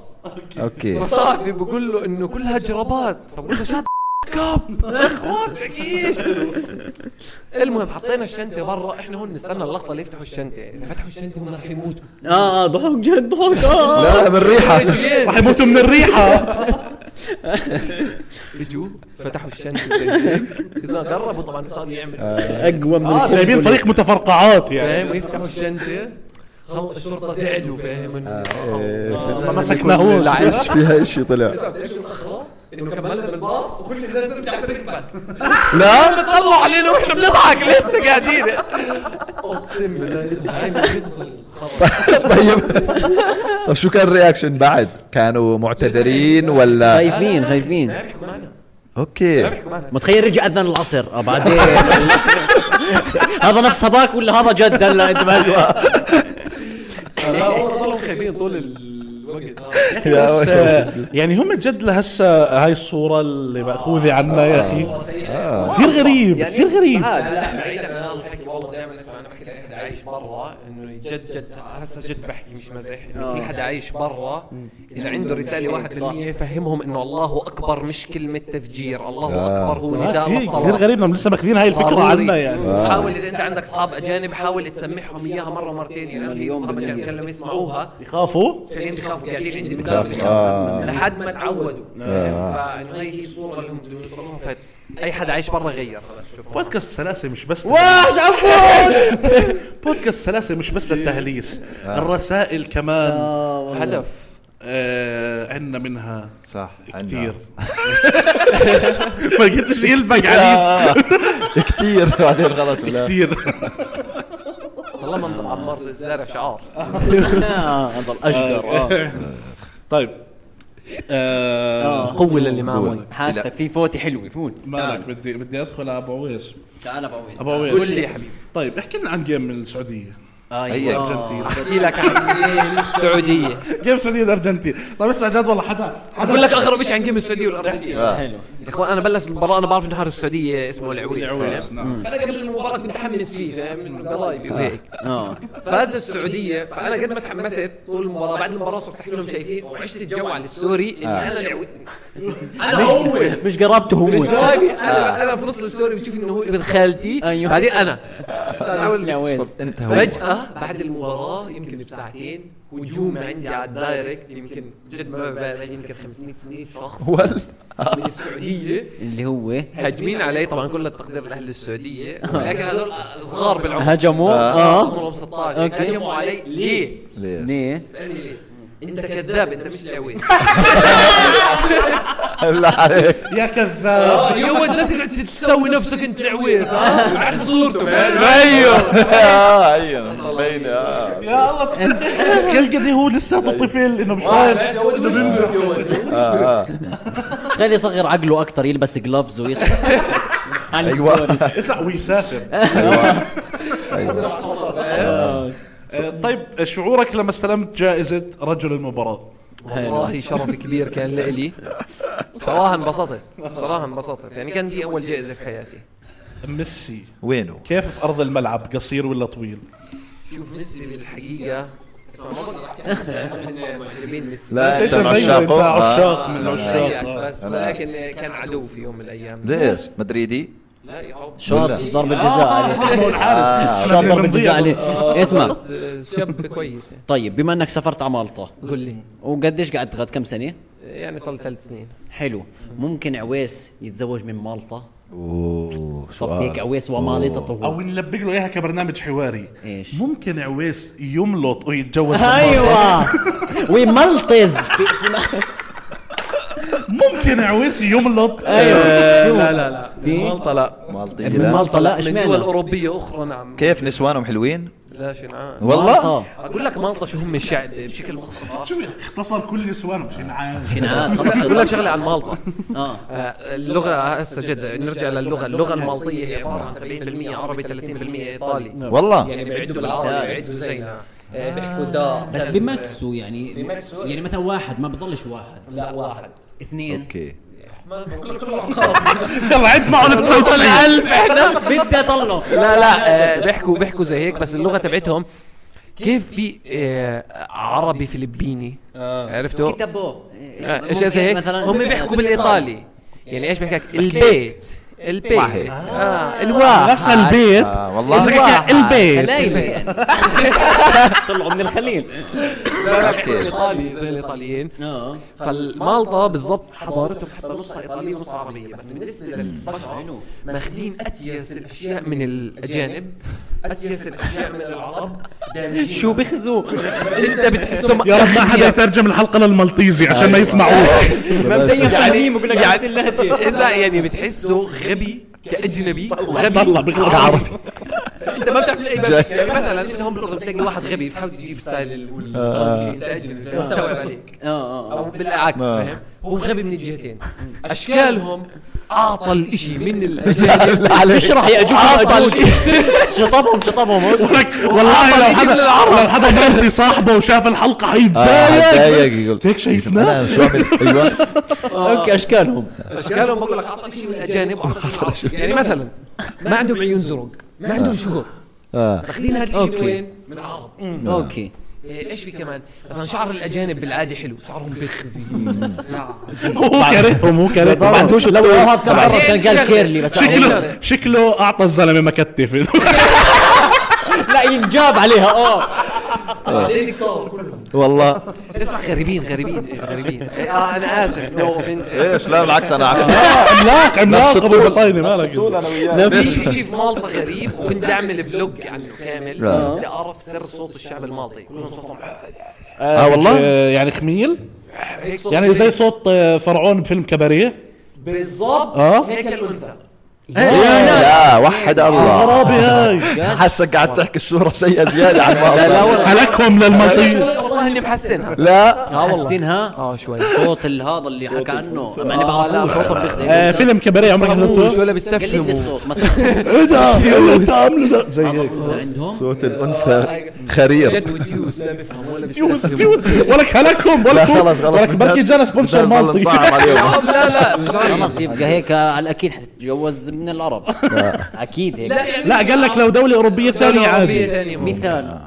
Speaker 5: اوكي
Speaker 6: فصاحبي بقول له انه كلها جرابات فبقول له شات كاب خلاص تعيش المهم حطينا الشنطه برا احنا هون نستنى اللقطه اللي يفتحوا الشنطه اذا فتحوا الشنطه هم رح يموتوا
Speaker 2: اه اه ضحوك جد ضحوك اه
Speaker 5: لا من ريحه
Speaker 6: رجلين
Speaker 1: رح يموتوا من الريحه
Speaker 6: اجوا فتحوا الشنطه زي هيك اذا قربوا طبعا صار يعمل
Speaker 2: اقوى من
Speaker 6: آه،
Speaker 2: الكل
Speaker 1: جايبين
Speaker 2: كله.
Speaker 1: فريق متفرقعات يعني
Speaker 6: فاهم ويفتحوا الشنطه خل- الشرطه زعلوا فاهم انه إيه.
Speaker 1: ما مسكناهوش
Speaker 5: ايش فيها اشي طلع
Speaker 6: بتعرف شو الاخرى؟ انه كملنا بالباص وكل الناس رجعت ركبت
Speaker 5: لا
Speaker 6: بتطلعوا علينا واحنا بنضحك لسه قاعدين اقسم بالله هاي من قصة الخبر
Speaker 5: طيب طب شو كان الرياكشن بعد كانوا معتذرين ولا
Speaker 2: خايفين خايفين
Speaker 6: ما بيحكوا معنا ما
Speaker 5: اوكي
Speaker 6: بيحكوا معنا
Speaker 2: متخيل رجع اذن العصر آه، بعدين هذا نفس هذاك ولا هذا جد هلا انت ما
Speaker 6: لا والله ضلوا خايفين طول الوقت آه.
Speaker 5: يا
Speaker 1: بس
Speaker 5: ويلي.
Speaker 1: آه، يعني هم جد لهسه هاي الصوره اللي ماخوذه عنا يا اخي
Speaker 6: والله سيء
Speaker 1: كثير غريب
Speaker 6: آه.
Speaker 2: يعني
Speaker 1: كثير غريب
Speaker 2: تعال.
Speaker 6: لا، بعيد عن هذا الحكي والله دائما برا انه جد جد هسه جد بحكي مش مزح انه كل حدا عايش برا اذا عنده رساله 1% يفهمهم انه الله اكبر مش كلمه تفجير الله اكبر هو نداء
Speaker 1: كثير كثير
Speaker 6: للصلاه
Speaker 1: غريب انهم لسه ماخذين هاي الفكره
Speaker 6: ضروري.
Speaker 1: عنا يعني
Speaker 6: حاول اذا انت عندك اصحاب اجانب حاول تسمعهم اياها مره مرتين يعني في اصحاب اجانب لما يسمعوها
Speaker 1: يخافوا
Speaker 6: فعليا بخافوا قاعدين عندي بالدار
Speaker 4: آه.
Speaker 6: لحد ما تعودوا فانه هي هي الصوره اللي هم بدهم يوصلوها فاي حدا عايش برا غير خلاص شكرا
Speaker 1: بودكاست سلاسه مش بس
Speaker 2: واش عفوا
Speaker 1: بودكاست سلاسه مش بس للتهليس الرسائل كمان
Speaker 6: هدف
Speaker 1: آه، عندنا منها
Speaker 5: صح عندنا.
Speaker 1: كثير ما لقيتش قلبك
Speaker 6: آه.
Speaker 1: عنيس
Speaker 4: كثير بعدين خلص لا.
Speaker 1: كثير
Speaker 6: طالما انت عمار زي الزارع شعار
Speaker 2: هذا الاشقر آه.
Speaker 1: طيب آه،
Speaker 6: قوة للي معه
Speaker 2: حاسك في فوتي حلوه فوت
Speaker 1: مالك بدي بدي ادخل على ابو عويس
Speaker 2: تعال ابو عويس
Speaker 1: ابو
Speaker 6: قول لي
Speaker 1: عويس
Speaker 6: يا حبيبي
Speaker 1: طيب احكي لنا عن جيم من السعوديه
Speaker 2: أيوة.
Speaker 5: هي
Speaker 1: الارجنتين
Speaker 6: احكي لك عن السعودية
Speaker 1: جيم السعوديه والارجنتين طيب اسمع جد والله حدا
Speaker 6: بقول
Speaker 1: حدا
Speaker 6: لك اغرب شيء عن جيم السعودية والارجنتين
Speaker 1: آه.
Speaker 2: حلو
Speaker 6: يا اخوان انا بلش المباراة انا بعرف انه حارس السعودية اسمه العويس
Speaker 1: العويس،
Speaker 6: فاهم؟
Speaker 1: نعم. آه.
Speaker 6: فانا قبل المباراة كنت متحمس فيه فاهم انه قرايبي وهيك
Speaker 2: اه
Speaker 6: فاز السعوديه فانا قد ما تحمست طول المباراه بعد المباراه صرت احكي لهم شايفين وعشت الجو على السوري اني
Speaker 1: آه.
Speaker 6: انا العود انا هو
Speaker 2: مش قربته هو
Speaker 6: مش رايبي
Speaker 1: آه.
Speaker 6: انا انا في نص السوري بشوف انه هو ابن خالتي
Speaker 2: أيوه.
Speaker 6: بعدين انا
Speaker 1: آه.
Speaker 2: عويس يا
Speaker 6: أحاول-
Speaker 2: ويس
Speaker 4: انت هو
Speaker 6: فجاه بعد المباراه يمكن بساعتين هجوم عندي على الدايركت يمكن جد ما ببالغ يمكن 500 600 شخص آه. من السعوديه
Speaker 2: اللي هو
Speaker 6: هاجمين علي طبعا كل التقدير آه. لاهل السعوديه ولكن هذول صغار بالعمر
Speaker 2: هجموا اه
Speaker 6: عمرهم 16
Speaker 2: أوكي.
Speaker 6: هجموا علي آه. ليه؟
Speaker 5: ليه
Speaker 2: ليه؟
Speaker 6: اسألني ليه؟ انت كذاب انت مش لعويس
Speaker 4: هلا عليك
Speaker 1: يا كذاب
Speaker 6: يو انت لا آه، تقعد تسوي نفسك انت لعويس ها عرفت صورته
Speaker 4: ايوه آه،
Speaker 5: أيوه.
Speaker 4: ايوه مبينه آه.
Speaker 1: يا الله خلقتي هو لساته طفل انه مش فاهم
Speaker 2: خليه يصغر عقله اكثر يلبس جلافز ويطلع
Speaker 5: أيوه.
Speaker 4: ايوه
Speaker 1: اسمع ويسافر آه، طيب شعورك لما استلمت جائزه رجل المباراه
Speaker 6: والله شرف كبير كان لإلي بصراحة انبسطت بصراحة انبسطت يعني كان دي أول جائزة في حياتي
Speaker 1: ميسي
Speaker 5: وينه
Speaker 1: كيف في ارض الملعب قصير ولا طويل
Speaker 6: شوف ميسي بالحقيقة اسمع، ما بقدر أحكي عن ميسي، أنا من محبين ميسي
Speaker 4: لا
Speaker 1: انت
Speaker 4: انت
Speaker 1: زيه انت
Speaker 4: عشاق آه.
Speaker 1: عشاق من
Speaker 6: أنا
Speaker 1: عشاق
Speaker 6: زيك
Speaker 1: آه.
Speaker 6: بس ولكن كان عدو في يوم من الأيام
Speaker 5: ليش مدريدي
Speaker 6: لا آه، يا عم.
Speaker 2: شوط ضرب الجزاء
Speaker 5: آه،
Speaker 2: عليه
Speaker 1: هو الحارس
Speaker 2: شوط ضرب الجزاء عليه
Speaker 6: آه.
Speaker 2: اسمع
Speaker 6: بس شاب كويس يعني.
Speaker 2: طيب بما انك سافرت على مالطا
Speaker 6: قل لي
Speaker 2: وقديش قعدت غاد كم سنه؟
Speaker 6: يعني صار لي ثلاث سنين
Speaker 2: حلو ممكن عويس يتزوج من مالطا
Speaker 5: اوه
Speaker 2: صار فيك عويس ومالطا
Speaker 1: او
Speaker 2: طهور
Speaker 1: نلبق له اياها كبرنامج حواري
Speaker 2: إيش؟
Speaker 1: ممكن عويس يملط ويتجوز
Speaker 2: ايوه وملطز في-
Speaker 1: ممكن عويس يملط
Speaker 2: ايوه شو؟
Speaker 6: إيه، لا لا لا
Speaker 2: في؟
Speaker 6: من مالطا لا
Speaker 5: مالطي
Speaker 2: من
Speaker 5: لا.
Speaker 2: مالطا لا
Speaker 6: من دول
Speaker 2: اشمعنى
Speaker 6: أوروبية أخرى نعم
Speaker 5: كيف نسوانهم حلوين
Speaker 6: لا شنعان
Speaker 5: والله
Speaker 2: مالطا.
Speaker 6: أقول لك مالطا شو هم الشعب بشكل مختصر
Speaker 1: شو اختصر كل نسوانه مش عارف
Speaker 2: شنعان
Speaker 6: أقول لك
Speaker 2: خلص
Speaker 6: شغلة عن مالطا
Speaker 2: اه
Speaker 6: آه، اللغة هسه جد نرجع للغة اللغة المالطية هي عبارة عن 70% عربي 30% إيطالي
Speaker 5: والله
Speaker 6: يعني بيعدوا بالعربي بيعدوا زينا آه، بيحكوا دار
Speaker 7: بس
Speaker 6: دل-
Speaker 7: بمكسو يعني
Speaker 6: بمكسو.
Speaker 7: يعني مثلا واحد ما بضلش واحد
Speaker 6: لا واحد
Speaker 2: اثنين
Speaker 5: اوكي
Speaker 6: ما بقول لك كل الأرقام.
Speaker 1: يلا عد معه
Speaker 6: وصل
Speaker 1: 99
Speaker 6: ألف إحنا
Speaker 2: بدي اطلع
Speaker 6: لا لا آه، بيحكوا بيحكوا زي هيك بس اللغه تبعتهم كيف في آه، عربي فلبيني عرفتوا؟
Speaker 2: كتبوه
Speaker 6: آه، اشياء زي
Speaker 7: يعني
Speaker 6: هيك هم بيحكوا بالايطالي يعني ايش بيحكوا لك؟ البيت البيت
Speaker 5: واحد.
Speaker 6: اه الواحد
Speaker 1: نفس البيت
Speaker 5: آه، والله.
Speaker 1: إذا كان البيت
Speaker 2: خلايل يعني طلعوا من الخليل
Speaker 6: لا، لا، بيحكوا ايطالي زي الايطاليين
Speaker 2: اه
Speaker 6: فالمالطا بالضبط حضارتهم حتى نصها ايطاليه ونصها عربيه بس بالنسبه للبشر ماخذين اتيس الاشياء من الاجانب اتيس الاشياء من العرب دامجين
Speaker 2: شو بيخزوا
Speaker 6: انت بتحسهم
Speaker 1: يا رب ما
Speaker 5: أيوة.
Speaker 1: حدا يترجم الحلقه للمالطيزي عشان ما يسمعوه
Speaker 2: مبدئيا فاهمين بقول لك
Speaker 6: يعني-
Speaker 2: نفس اللهجه
Speaker 6: اذا يعني بتحسه غبي كاجنبي
Speaker 1: طلع
Speaker 6: غبي
Speaker 1: بيغلط عربي
Speaker 6: انت ما بتعرف اي يعني مثلا انت هون بالاردن بتلاقي واحد غبي بتحاول تجيب ستايل ال- الفرنكي، انت اجنبي بتستوعب عليك
Speaker 7: آه.
Speaker 2: اه اه
Speaker 6: او بالعكس فاهم هو غبي من الجهتين اشكالهم اعطى الاشي من الاجانب
Speaker 2: بيشرح يا اجوج
Speaker 4: آه،
Speaker 7: آه،
Speaker 6: أعطى
Speaker 2: شطبهم شطبهم
Speaker 1: ولك
Speaker 5: آه،
Speaker 1: والله إيه، لو حدا لو حدا مالطي صاحبه وشاف الحلقه
Speaker 4: آه،
Speaker 5: آه،
Speaker 1: حيتضايق
Speaker 4: ضايق قلت
Speaker 1: هيك شايفناه؟
Speaker 4: أنا شو اعمل ايوه
Speaker 6: آه.
Speaker 2: اوكي اشكالهم
Speaker 6: اشكالهم بقول لك اعطى شيء من الاجانب واعطى شيء من العرب يعني مثلا ما عندهم عيون زرق ما عندهم شعور
Speaker 4: آه.
Speaker 6: اخذين هذا الشيء من
Speaker 7: أوكي.
Speaker 6: وين؟ من العرب
Speaker 7: اوكي
Speaker 6: إيه، ايش في كمان؟ مثلا شعر الاجانب بالعاده حلو، شعرهم بيخزي لا
Speaker 1: هو كارههم هو كارههم
Speaker 2: ما عندوش
Speaker 7: لا
Speaker 2: الطول.
Speaker 7: وهاب كم مره كان قال
Speaker 6: شغلة.
Speaker 7: كيرلي بس
Speaker 6: شغلة.
Speaker 7: عليه.
Speaker 1: شكله شكله اعطى الزلمه مكتف
Speaker 2: لا ينجاب عليها اه
Speaker 6: بعدين صار كلهم
Speaker 4: والله
Speaker 6: اسمع غريبين غريبين إيه، غريبين إيه، اه انا اسف نو اوفنس
Speaker 5: ايش لا بالعكس انا عارف
Speaker 1: عملاق عملاق ابو البطاينه مالك
Speaker 6: في إيه، في شيء في مالطا غريب وكنت اعمل فلوج عنه كامل لاعرف سر صوت الشعب المالطي كلهم صوتهم
Speaker 1: اه
Speaker 4: آه، والله؟
Speaker 1: يعني خميل
Speaker 6: هيك صوت
Speaker 1: يعني زي صوت آه، فرعون بفيلم كباريه
Speaker 6: بالضبط
Speaker 1: آه.
Speaker 6: هيك الانثى
Speaker 4: لا وحد الله
Speaker 1: خرابي هاي
Speaker 4: حسك قاعد تحكي الصورة سيئة زيادة عن ما
Speaker 6: لا لا والله
Speaker 1: هلكهم للمنطقه
Speaker 6: والله اني محسنها
Speaker 4: لا
Speaker 6: اه والله
Speaker 7: حسينها
Speaker 6: اه شوي
Speaker 7: آه، صوت ال- هذا اللي حكى عنه مع اني
Speaker 6: آه، لا،
Speaker 7: بعرفوش صوته
Speaker 1: آه،
Speaker 7: بيخزي
Speaker 1: فيلم كباريه عمرك
Speaker 6: مش
Speaker 1: حضرته؟
Speaker 6: ولا
Speaker 7: قليل
Speaker 6: بيستفهموا
Speaker 7: الصوت ما تخاف.
Speaker 1: ايه ده؟ ايه اللي انت عامله ده؟ زي هيك
Speaker 7: عندهم
Speaker 4: صوت الأنثى خرير
Speaker 6: جد وديوس لا بيفهم ولا
Speaker 1: تيوز
Speaker 6: بيستفهم
Speaker 1: تيوز ولك هلكهم
Speaker 4: لا
Speaker 1: ولك هو-
Speaker 4: خلص خلص
Speaker 1: ولك بركي جانا سبونسر مالطي
Speaker 4: مالطي
Speaker 6: لا لا مش
Speaker 7: خلاص يبقى هيك على الاكيد حتتجوز من العرب اكيد هيك
Speaker 6: لا يعني
Speaker 1: لا قال لك لو دوله اوروبيه ثانيه عادي
Speaker 7: مثال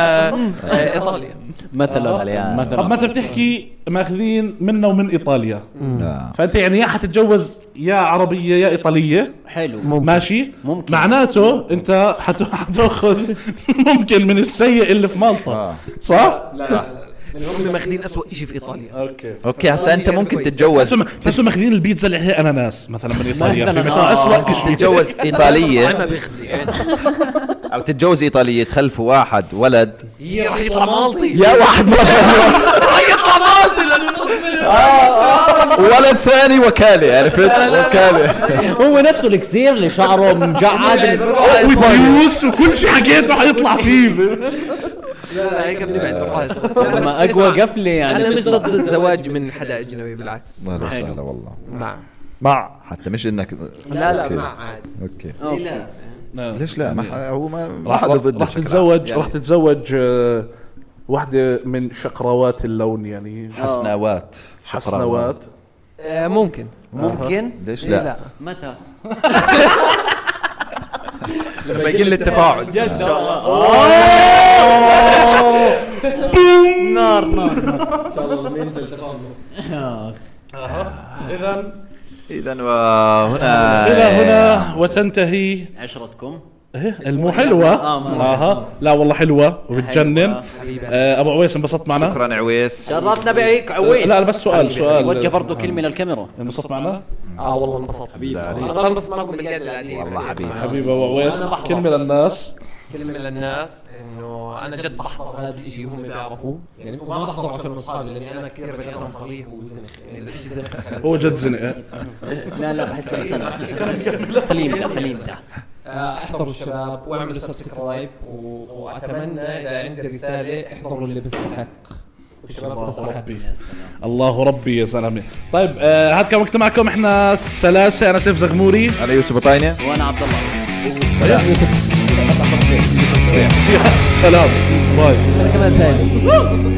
Speaker 6: ايطاليا
Speaker 2: مثلا عليها
Speaker 1: طب ما انت بتحكي ماخذين منا ومن ايطاليا فانت يعني يا حتتجوز يا عربيه يا ايطاليه
Speaker 7: حلو
Speaker 1: ماشي
Speaker 7: ممكن.
Speaker 1: معناته انت حت- حتاخذ ممكن من السيء اللي في مالطا صح؟
Speaker 6: هم ماخذين اسوء شيء في ايطاليا
Speaker 1: اوكي
Speaker 5: اوكي هسا انت ممكن تتجوز
Speaker 1: تحسوا ماخذين البيتزا اللي عليها اناناس مثلا من ايطاليا في
Speaker 7: مثلاً،
Speaker 1: مطار
Speaker 7: آه.
Speaker 1: اسوء شيء
Speaker 5: تتجوز ايطاليه
Speaker 6: ما بيخزي
Speaker 5: او تتجوز ايطاليه تخلفوا واحد ولد
Speaker 6: هي راح يطلع مالطي
Speaker 4: يا واحد مرة
Speaker 6: راح يطلع مالطي لانه نص
Speaker 4: ولد ثاني وكالة عرفت وكالة
Speaker 2: هو نفسه الكسير اللي شعره مجعد
Speaker 1: آه. وبيوس وكل شيء حكيته حيطلع فيه
Speaker 6: لا لا هيك بنبعد بالراس
Speaker 2: ما اقوى قفله يعني
Speaker 6: انا مش ضد الزواج من حدا اجنبي بالعكس
Speaker 5: اهلا وسهلا والله
Speaker 6: مع
Speaker 4: مع
Speaker 5: حتى مش انك
Speaker 6: لا لا
Speaker 5: أوكي.
Speaker 6: مع عادي
Speaker 5: اوكي
Speaker 6: لا
Speaker 5: ليش لا ما ح- هو ما ما
Speaker 1: راح
Speaker 5: حدا ضده
Speaker 1: راح
Speaker 5: بشكل عام.
Speaker 1: تتزوج
Speaker 5: يعني
Speaker 1: راح تتزوج آه، واحدة من شقروات اللون يعني
Speaker 5: حسناوات
Speaker 1: حسنوات
Speaker 6: آه، ممكن
Speaker 5: ممكن ليش
Speaker 6: إيه،
Speaker 5: لا
Speaker 6: لا
Speaker 7: متى
Speaker 6: لما يقل التفاعل
Speaker 2: نار نار
Speaker 1: آه. إذا
Speaker 5: اذا وهنا
Speaker 1: إلى هنا وتنتهي
Speaker 7: عشرتكم
Speaker 1: إيه، المو حلوة
Speaker 2: آه، ما-
Speaker 1: آها لا والله حلوة وبتجنن
Speaker 7: حلوة.
Speaker 1: آه، أبو عويس انبسطت معنا
Speaker 5: شكرا عويس
Speaker 2: جربنا بعيك عويس
Speaker 1: لا بس سؤال
Speaker 2: وجه
Speaker 1: سؤال
Speaker 2: برضه كلمه للكاميرا
Speaker 1: انبسطت معنا
Speaker 6: اه والله انبسطت حبيبي انا انبسطت معكم بالقعده العاديه والله حبيبي
Speaker 1: حبيبي أبو عويس
Speaker 6: أنا بحضر.
Speaker 1: كلمة للناس
Speaker 6: كلمه للناس انه انا جد بحضر هذا الشيء هم بيعرفوه يعني وما بحضر عشان اصحابي لاني انا كثير بقدر صريح وزنخ يعني هذا الشيء زنخ
Speaker 1: هو جد زنقة
Speaker 2: لا لا بحس لا استنى خليه يبدا خليه يبدا
Speaker 6: آه، احضروا الشباب واعملوا سبسكرايب و- واتمنى اذا عندي رساله احضروا اللي بيستحق والشباب بتستحق
Speaker 1: ربي الله ربي يا زلمة طيب آه، هاد كان وقت معكم احنا الثلاثة أنا سيف زغموري
Speaker 5: انا يوسف بطاينه
Speaker 7: وانا عبد الله
Speaker 1: سلام باي
Speaker 6: انا كمان سالم